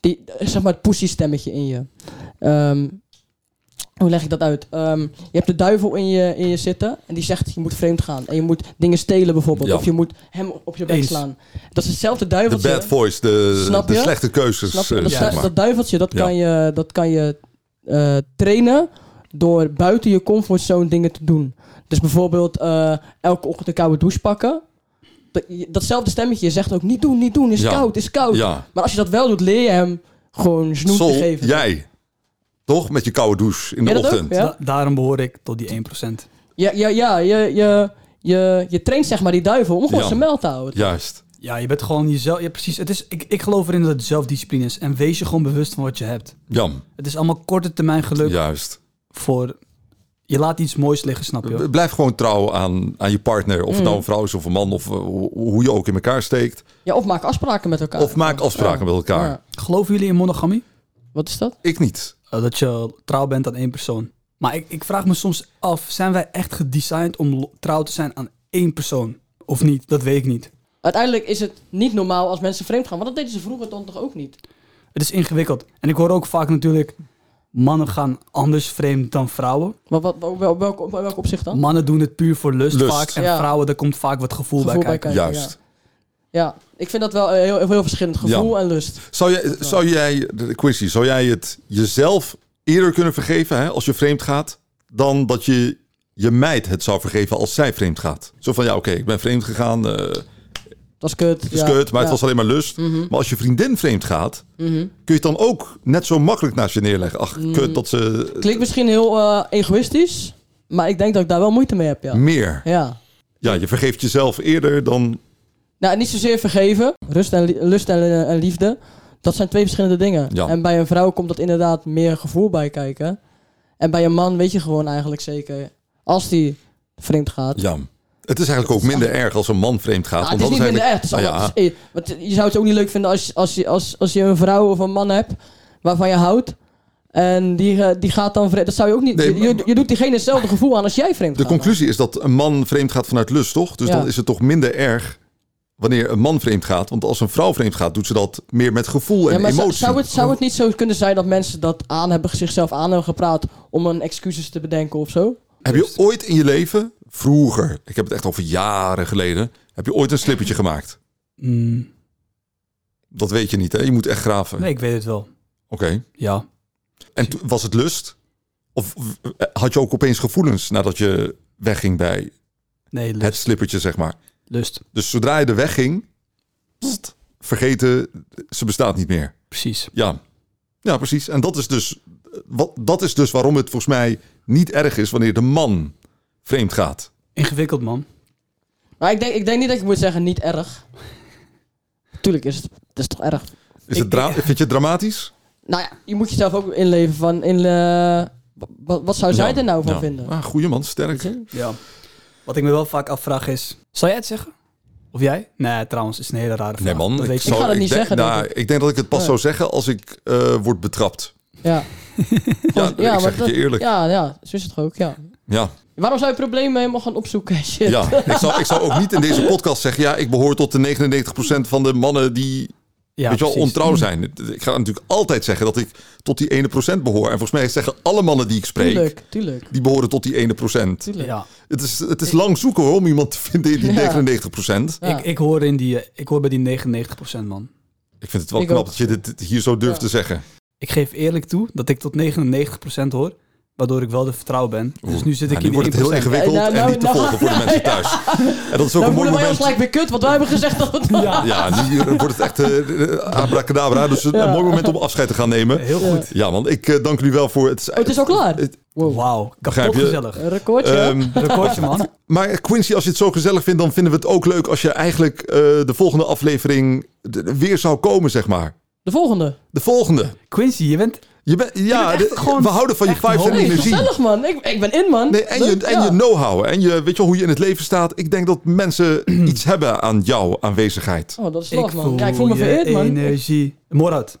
[SPEAKER 3] die, zeg maar het pussy stemmetje in je. Ehm, hoe leg ik dat uit? Ehm, je hebt de duivel in je, in je zitten en die zegt je moet vreemd gaan. En je moet dingen stelen bijvoorbeeld,
[SPEAKER 2] Ja.
[SPEAKER 3] of je moet hem op je bek
[SPEAKER 1] Eens.
[SPEAKER 3] slaan. Dat is hetzelfde
[SPEAKER 2] De
[SPEAKER 3] duiveltje.
[SPEAKER 2] bad voice, de,
[SPEAKER 3] Snap
[SPEAKER 2] de
[SPEAKER 3] je?
[SPEAKER 2] slechte keuzes.
[SPEAKER 3] Snap je?
[SPEAKER 2] eh,
[SPEAKER 3] Dat,
[SPEAKER 1] Ja.
[SPEAKER 2] zeg
[SPEAKER 3] du-
[SPEAKER 2] maar.
[SPEAKER 3] dat duiveltje, dat
[SPEAKER 2] Ja.
[SPEAKER 3] kan je, dat kan je eh, trainen door buiten je comfortzone dingen te doen. Dus bijvoorbeeld eh, elke ochtend een koude douche pakken. Dat- je- datzelfde stemmetje zegt ook niet doen, niet doen, is
[SPEAKER 2] Ja.
[SPEAKER 3] koud, is koud.
[SPEAKER 2] Ja.
[SPEAKER 3] Maar als je dat wel doet, leer je hem gewoon snoep te
[SPEAKER 2] Sol,
[SPEAKER 3] geven.
[SPEAKER 2] jij. Toch? Met je koude douche in de
[SPEAKER 3] Ja, dat ook,
[SPEAKER 2] ochtend.
[SPEAKER 3] Ja.
[SPEAKER 1] da- daarom behoor ik tot die 1%.
[SPEAKER 3] Ja, ja, ja je, je, je, je traint zeg maar die duivel om gewoon
[SPEAKER 2] Ja.
[SPEAKER 3] zijn meld te houden.
[SPEAKER 2] Juist.
[SPEAKER 1] Ja, je bent gewoon jezelf. Ja, precies. Het is, ik, ik geloof erin dat het zelfdiscipline is. En wees je gewoon bewust van wat je hebt.
[SPEAKER 2] Jam.
[SPEAKER 1] Het is allemaal korte termijn geluk
[SPEAKER 2] Juist.
[SPEAKER 1] voor... Je laat iets moois liggen, snap je?
[SPEAKER 2] B- Blijf gewoon trouw aan, aan je partner.
[SPEAKER 3] Mm.
[SPEAKER 2] Of het nou een vrouw is of een man. Of eh, hoe- hoe je ook in elkaar steekt.
[SPEAKER 3] Ja, of maak afspraken met elkaar.
[SPEAKER 2] Of maak afspraken
[SPEAKER 3] Ja.
[SPEAKER 2] met elkaar.
[SPEAKER 3] Ja.
[SPEAKER 1] Geloven jullie in monogamie?
[SPEAKER 3] Wat is dat?
[SPEAKER 2] Ik niet.
[SPEAKER 1] Eh, dat je trouw bent aan één persoon. Maar ik, ik vraag me soms af, zijn wij echt gedesigned om lo- trouw te zijn aan één persoon? Of niet? Dat weet ik niet.
[SPEAKER 3] Uiteindelijk is het niet normaal als mensen vreemd gaan. Want dat deden ze vroeger dan toch ook niet?
[SPEAKER 1] Het is ingewikkeld. En ik hoor ook vaak natuurlijk, mannen gaan anders vreemd dan vrouwen.
[SPEAKER 3] Maar wat, wel- wel- welk, op welk opzicht dan?
[SPEAKER 1] Mannen doen het puur voor lust,
[SPEAKER 2] Lust.
[SPEAKER 1] vaak. En
[SPEAKER 3] Oh. Ja.
[SPEAKER 1] vrouwen, daar komt vaak wat gevoel,
[SPEAKER 3] Gevoel
[SPEAKER 1] bij kijken.
[SPEAKER 3] Kijk,
[SPEAKER 2] Juist.
[SPEAKER 3] Ja, ik vind dat wel een heel, heel, heel verschillend. Gevoel en lust.
[SPEAKER 2] Zou jij, zou jij de quizzie, zou jij het jezelf eerder kunnen vergeven hè, als je vreemd gaat, dan dat je je meid het zou vergeven als zij vreemd gaat? Zo van ja, oké, ik ben vreemd gegaan, eh,
[SPEAKER 3] Dat is kut.
[SPEAKER 2] het is kut, maar het was alleen maar lust.
[SPEAKER 3] Mhm.
[SPEAKER 2] Maar als je vriendin vreemd gaat, kun je het dan ook net zo makkelijk naast je neerleggen. Ach, kut dat ze
[SPEAKER 3] Mm. Klinkt misschien heel eh, egoïstisch, maar ik denk dat ik daar wel moeite mee heb, ja.
[SPEAKER 2] meer.
[SPEAKER 3] Ja.
[SPEAKER 2] Ja, je vergeeft jezelf eerder dan.
[SPEAKER 3] Nou, niet zozeer vergeven. Rust en, li- lust en, eh, en liefde. Dat zijn twee verschillende dingen.
[SPEAKER 2] Ja.
[SPEAKER 3] En bij een vrouw komt dat inderdaad meer gevoel bij kijken. En bij een man weet je gewoon eigenlijk zeker... als die vreemd gaat...
[SPEAKER 2] Ja. Het is eigenlijk ook minder erg als een man vreemd gaat.
[SPEAKER 3] Ah,
[SPEAKER 2] want
[SPEAKER 3] het is
[SPEAKER 2] dat
[SPEAKER 3] niet minder echt.
[SPEAKER 2] eigenlijk-
[SPEAKER 3] Het is allemaal-
[SPEAKER 2] Nou
[SPEAKER 3] het is- eh, want je zou het ook niet leuk vinden als, als, je, als, als je een vrouw of een man hebt waarvan je houdt. En die, eh, die gaat dan vreemd. Dat zou je ook niet.
[SPEAKER 2] Nee,
[SPEAKER 3] je-
[SPEAKER 2] maar-
[SPEAKER 3] je, je doet diegene hetzelfde gevoel aan als jij vreemd
[SPEAKER 2] De
[SPEAKER 3] gaat.
[SPEAKER 2] conclusie is dat een man vreemd gaat vanuit lust, toch? Dus
[SPEAKER 3] Ja.
[SPEAKER 2] dan is het toch minder erg wanneer een man vreemd gaat. Want als een vrouw vreemd gaat, doet ze dat meer met gevoel en
[SPEAKER 3] Ja, maar zou-
[SPEAKER 2] emotie.
[SPEAKER 3] zou, het, zou het niet zo kunnen zijn dat mensen dat aan hebben, zichzelf aan hebben gepraat om een excuses te bedenken of zo?
[SPEAKER 2] Heb je ooit in je leven, vroeger, ik heb het echt over jaren geleden, heb je ooit een slippertje gemaakt?
[SPEAKER 1] Mm,
[SPEAKER 2] Dat weet je niet, hè? Je moet echt graven.
[SPEAKER 1] nee, ik weet het wel.
[SPEAKER 2] Oké.
[SPEAKER 1] Ja.
[SPEAKER 2] En toen- was het lust? Of of, eh, had je ook opeens gevoelens nadat je wegging bij
[SPEAKER 1] Nee, lust.
[SPEAKER 2] het slippertje, zeg maar?
[SPEAKER 1] lust.
[SPEAKER 2] Dus zodra je er wegging, pst, vergeten, ze bestaat niet meer.
[SPEAKER 1] Precies.
[SPEAKER 2] Ja. ja, precies. En dat is, dus, wat, dat is dus waarom het volgens mij niet erg is wanneer de man vreemd gaat.
[SPEAKER 1] Ingewikkeld, man.
[SPEAKER 3] Maar ik denk, ik denk niet dat je moet zeggen niet erg. Tuurlijk is het, het is toch erg.
[SPEAKER 2] Is
[SPEAKER 1] Ik-
[SPEAKER 2] het dra- vind je het dramatisch?
[SPEAKER 3] Nou ja, je moet jezelf ook inleven van in. eh, wa- wat, wat zou zij
[SPEAKER 2] Ja.
[SPEAKER 3] er nou van
[SPEAKER 2] Ja.
[SPEAKER 3] vinden?
[SPEAKER 2] Ah, goeie man, sterk.
[SPEAKER 1] Ja. Wat ik me wel vaak afvraag is... Zal jij het zeggen? Of jij? Nee, trouwens, is een hele rare vraag.
[SPEAKER 2] Nee man,
[SPEAKER 1] dat
[SPEAKER 2] ik,
[SPEAKER 1] weet je.
[SPEAKER 2] zou-
[SPEAKER 3] Ik ga dat niet
[SPEAKER 2] denk,
[SPEAKER 3] zeggen,
[SPEAKER 2] nou,
[SPEAKER 3] denk
[SPEAKER 2] ik. denk dat ik het pas
[SPEAKER 3] Ja.
[SPEAKER 2] zou zeggen als ik eh, word betrapt.
[SPEAKER 3] Ja.
[SPEAKER 2] Ja, ik zeg het
[SPEAKER 3] dat-
[SPEAKER 2] je eerlijk. Ja,
[SPEAKER 3] Ja, ja, zo is het toch ook, ja.
[SPEAKER 2] ja.
[SPEAKER 3] Waarom zou je problemen helemaal gaan opzoeken? en Shit.
[SPEAKER 2] Ik, zou, ik zou ook niet in deze podcast zeggen... ja, ik behoor tot de 99% van de mannen die
[SPEAKER 1] Ja,
[SPEAKER 2] weet je wel,
[SPEAKER 1] precies.
[SPEAKER 2] ontrouw zijn. Ik ga natuurlijk altijd zeggen dat ik tot die ene procent behoor. En volgens mij zeggen alle mannen die ik spreek,
[SPEAKER 3] Tuurlijk, tuurlijk,
[SPEAKER 2] die behoren tot die ene procent.
[SPEAKER 3] tuurlijk.
[SPEAKER 1] Ja.
[SPEAKER 2] Het is, het is lang zoeken hoor, om iemand te vinden in die
[SPEAKER 3] Ja.
[SPEAKER 2] 99 procent.
[SPEAKER 3] Ja.
[SPEAKER 1] Ik, ik, hoor in die, eh, ik hoor bij die 99% man.
[SPEAKER 2] Ik vind het wel
[SPEAKER 3] Ik
[SPEAKER 2] knap
[SPEAKER 3] ook.
[SPEAKER 2] dat je dit dit hier zo durft
[SPEAKER 3] Ja.
[SPEAKER 2] te zeggen.
[SPEAKER 1] Ik geef eerlijk toe dat ik tot 99% hoor, waardoor ik wel de vertrouwen ben. Dus nu zit
[SPEAKER 2] Ja,
[SPEAKER 1] ik
[SPEAKER 2] nu
[SPEAKER 1] in
[SPEAKER 2] wordt het
[SPEAKER 1] die
[SPEAKER 2] heel
[SPEAKER 1] 1%.
[SPEAKER 2] ingewikkeld
[SPEAKER 3] Nou,
[SPEAKER 2] en
[SPEAKER 3] nou,
[SPEAKER 2] niet te
[SPEAKER 3] nou,
[SPEAKER 2] volgen voor de
[SPEAKER 3] nou,
[SPEAKER 2] mensen thuis. En dat is ook een
[SPEAKER 3] Dan
[SPEAKER 2] mooi
[SPEAKER 3] voelen wij ons
[SPEAKER 2] moment.
[SPEAKER 3] gelijk weer kut, want wij hebben gezegd dat het...
[SPEAKER 1] Ja,
[SPEAKER 2] Ja, nu wordt het echt eh, abracadabra. Dus een mooi moment om afscheid te gaan nemen.
[SPEAKER 1] heel goed.
[SPEAKER 2] Ja man, ik eh, dank jullie wel voor het.
[SPEAKER 3] Oh, het is al klaar?
[SPEAKER 2] Het-
[SPEAKER 3] Wow.
[SPEAKER 1] Wauw,
[SPEAKER 2] Begrijp
[SPEAKER 1] kapot
[SPEAKER 2] je?
[SPEAKER 1] gezellig.
[SPEAKER 3] Een recordje.
[SPEAKER 2] Ehm,
[SPEAKER 1] Recordje, man.
[SPEAKER 2] maar Quincy, als je het zo gezellig vindt, dan vinden we het ook leuk als je eigenlijk eh, de volgende aflevering d- d- weer zou komen, zeg maar.
[SPEAKER 3] de volgende.
[SPEAKER 2] De volgende.
[SPEAKER 1] Quincy, je bent...
[SPEAKER 2] Je bent, ja,
[SPEAKER 1] bent echt
[SPEAKER 2] de-
[SPEAKER 1] gewoon
[SPEAKER 2] we houden van je
[SPEAKER 1] echt een
[SPEAKER 2] vibes en
[SPEAKER 1] homie.
[SPEAKER 3] Hey,
[SPEAKER 2] energie.
[SPEAKER 3] gezellig man. Ik, ik ben in man.
[SPEAKER 2] Nee, en je,
[SPEAKER 3] Leuk,
[SPEAKER 2] en
[SPEAKER 3] ja.
[SPEAKER 2] je know-how. En je, weet je wel, hoe je in het leven staat. Ik denk dat mensen iets hebben aan jouw aanwezigheid.
[SPEAKER 3] Oh, dat is love man. Ja, ik voel me
[SPEAKER 1] je
[SPEAKER 3] vereerd man. Ik-
[SPEAKER 1] energie. Morad,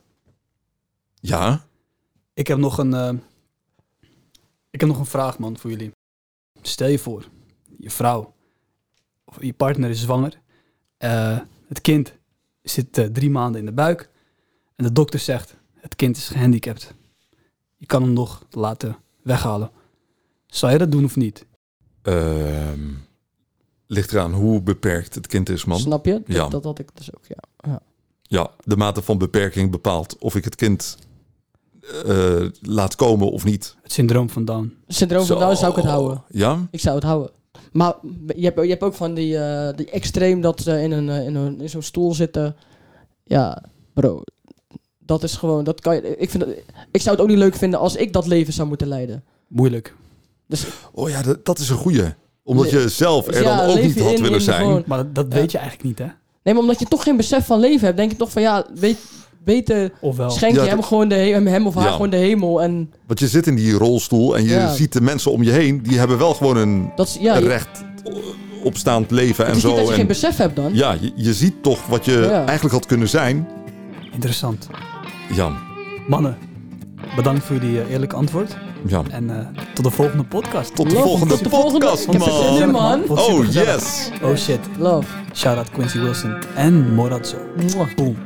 [SPEAKER 2] Ja?
[SPEAKER 1] ik heb nog een... eh, ik heb nog een vraag, man, voor jullie. Stel je voor, je vrouw of je partner is zwanger. Eh, het kind zit eh, drie maanden in de buik. En de dokter zegt, het kind is gehandicapt. Je kan hem nog laten weghalen. Zou je dat doen of niet?
[SPEAKER 2] Ehm, ligt eraan hoe beperkt het kind is, man.
[SPEAKER 3] Snap je? Dat,
[SPEAKER 2] Ja.
[SPEAKER 3] dat had ik dus ook, ja.
[SPEAKER 2] Ja, de mate van beperking bepaalt of ik het kind eh, laat komen of niet.
[SPEAKER 1] Het syndroom van Down.
[SPEAKER 3] Syndroom van Down zou ik het houden.
[SPEAKER 2] Ja?
[SPEAKER 3] Ik zou het houden. Maar je hebt, je hebt ook van die, eh, die extreem dat ze in, een, eh, in, een, in zo'n stoel zitten. Ja, bro. Dat is gewoon, dat kan je, ik, vind, dat- ik zou het ook niet leuk vinden als ik dat leven zou moeten leiden. Dus,
[SPEAKER 1] Moeilijk.
[SPEAKER 2] Oh ja, dat, dat is een goeie. Omdat
[SPEAKER 3] Nee.
[SPEAKER 2] je zelf er
[SPEAKER 3] Dus ja,
[SPEAKER 2] dan ook
[SPEAKER 3] leef
[SPEAKER 2] niet
[SPEAKER 3] je
[SPEAKER 2] had
[SPEAKER 3] in-
[SPEAKER 2] willen
[SPEAKER 3] in
[SPEAKER 2] zijn.
[SPEAKER 3] gewoon-
[SPEAKER 1] Maar dat, dat
[SPEAKER 3] Ja.
[SPEAKER 1] weet je eigenlijk niet, hè?
[SPEAKER 3] Nee, maar omdat je toch geen besef van leven hebt, denk je toch van ja, weet, beter
[SPEAKER 1] Ofwel.
[SPEAKER 3] schenk
[SPEAKER 2] Ja,
[SPEAKER 3] je hem,
[SPEAKER 2] dat-
[SPEAKER 3] gewoon de he- hem- hem of haar
[SPEAKER 2] Ja.
[SPEAKER 3] gewoon de hemel. En
[SPEAKER 2] Want je zit in die rolstoel en je
[SPEAKER 3] Ja.
[SPEAKER 2] ziet de mensen om je heen. Die hebben wel gewoon een
[SPEAKER 3] dat is, ja, je-
[SPEAKER 2] recht opstaand leven
[SPEAKER 3] het
[SPEAKER 2] en
[SPEAKER 3] is niet
[SPEAKER 2] zo.
[SPEAKER 3] dat je
[SPEAKER 2] en
[SPEAKER 3] geen besef hebt dan.
[SPEAKER 2] Ja, je, je ziet toch wat je
[SPEAKER 3] Ja.
[SPEAKER 2] eigenlijk had kunnen zijn.
[SPEAKER 1] Interessant.
[SPEAKER 2] Jan,
[SPEAKER 1] Mannen, bedankt voor jullie eh, eerlijke antwoord.
[SPEAKER 2] Jan.
[SPEAKER 1] En eh, tot de volgende podcast.
[SPEAKER 2] Tot de
[SPEAKER 3] Love,
[SPEAKER 2] volgende
[SPEAKER 3] tot de volgende-
[SPEAKER 2] podcast,
[SPEAKER 3] Ik heb het zin
[SPEAKER 2] man.
[SPEAKER 3] in, man.
[SPEAKER 1] Wat
[SPEAKER 2] Oh,
[SPEAKER 1] supergezellig.
[SPEAKER 2] yes.
[SPEAKER 1] Oh shit.
[SPEAKER 3] Love.
[SPEAKER 1] Shout out Quincy Wilson en Morazzo.
[SPEAKER 3] Mwah.
[SPEAKER 1] Boom.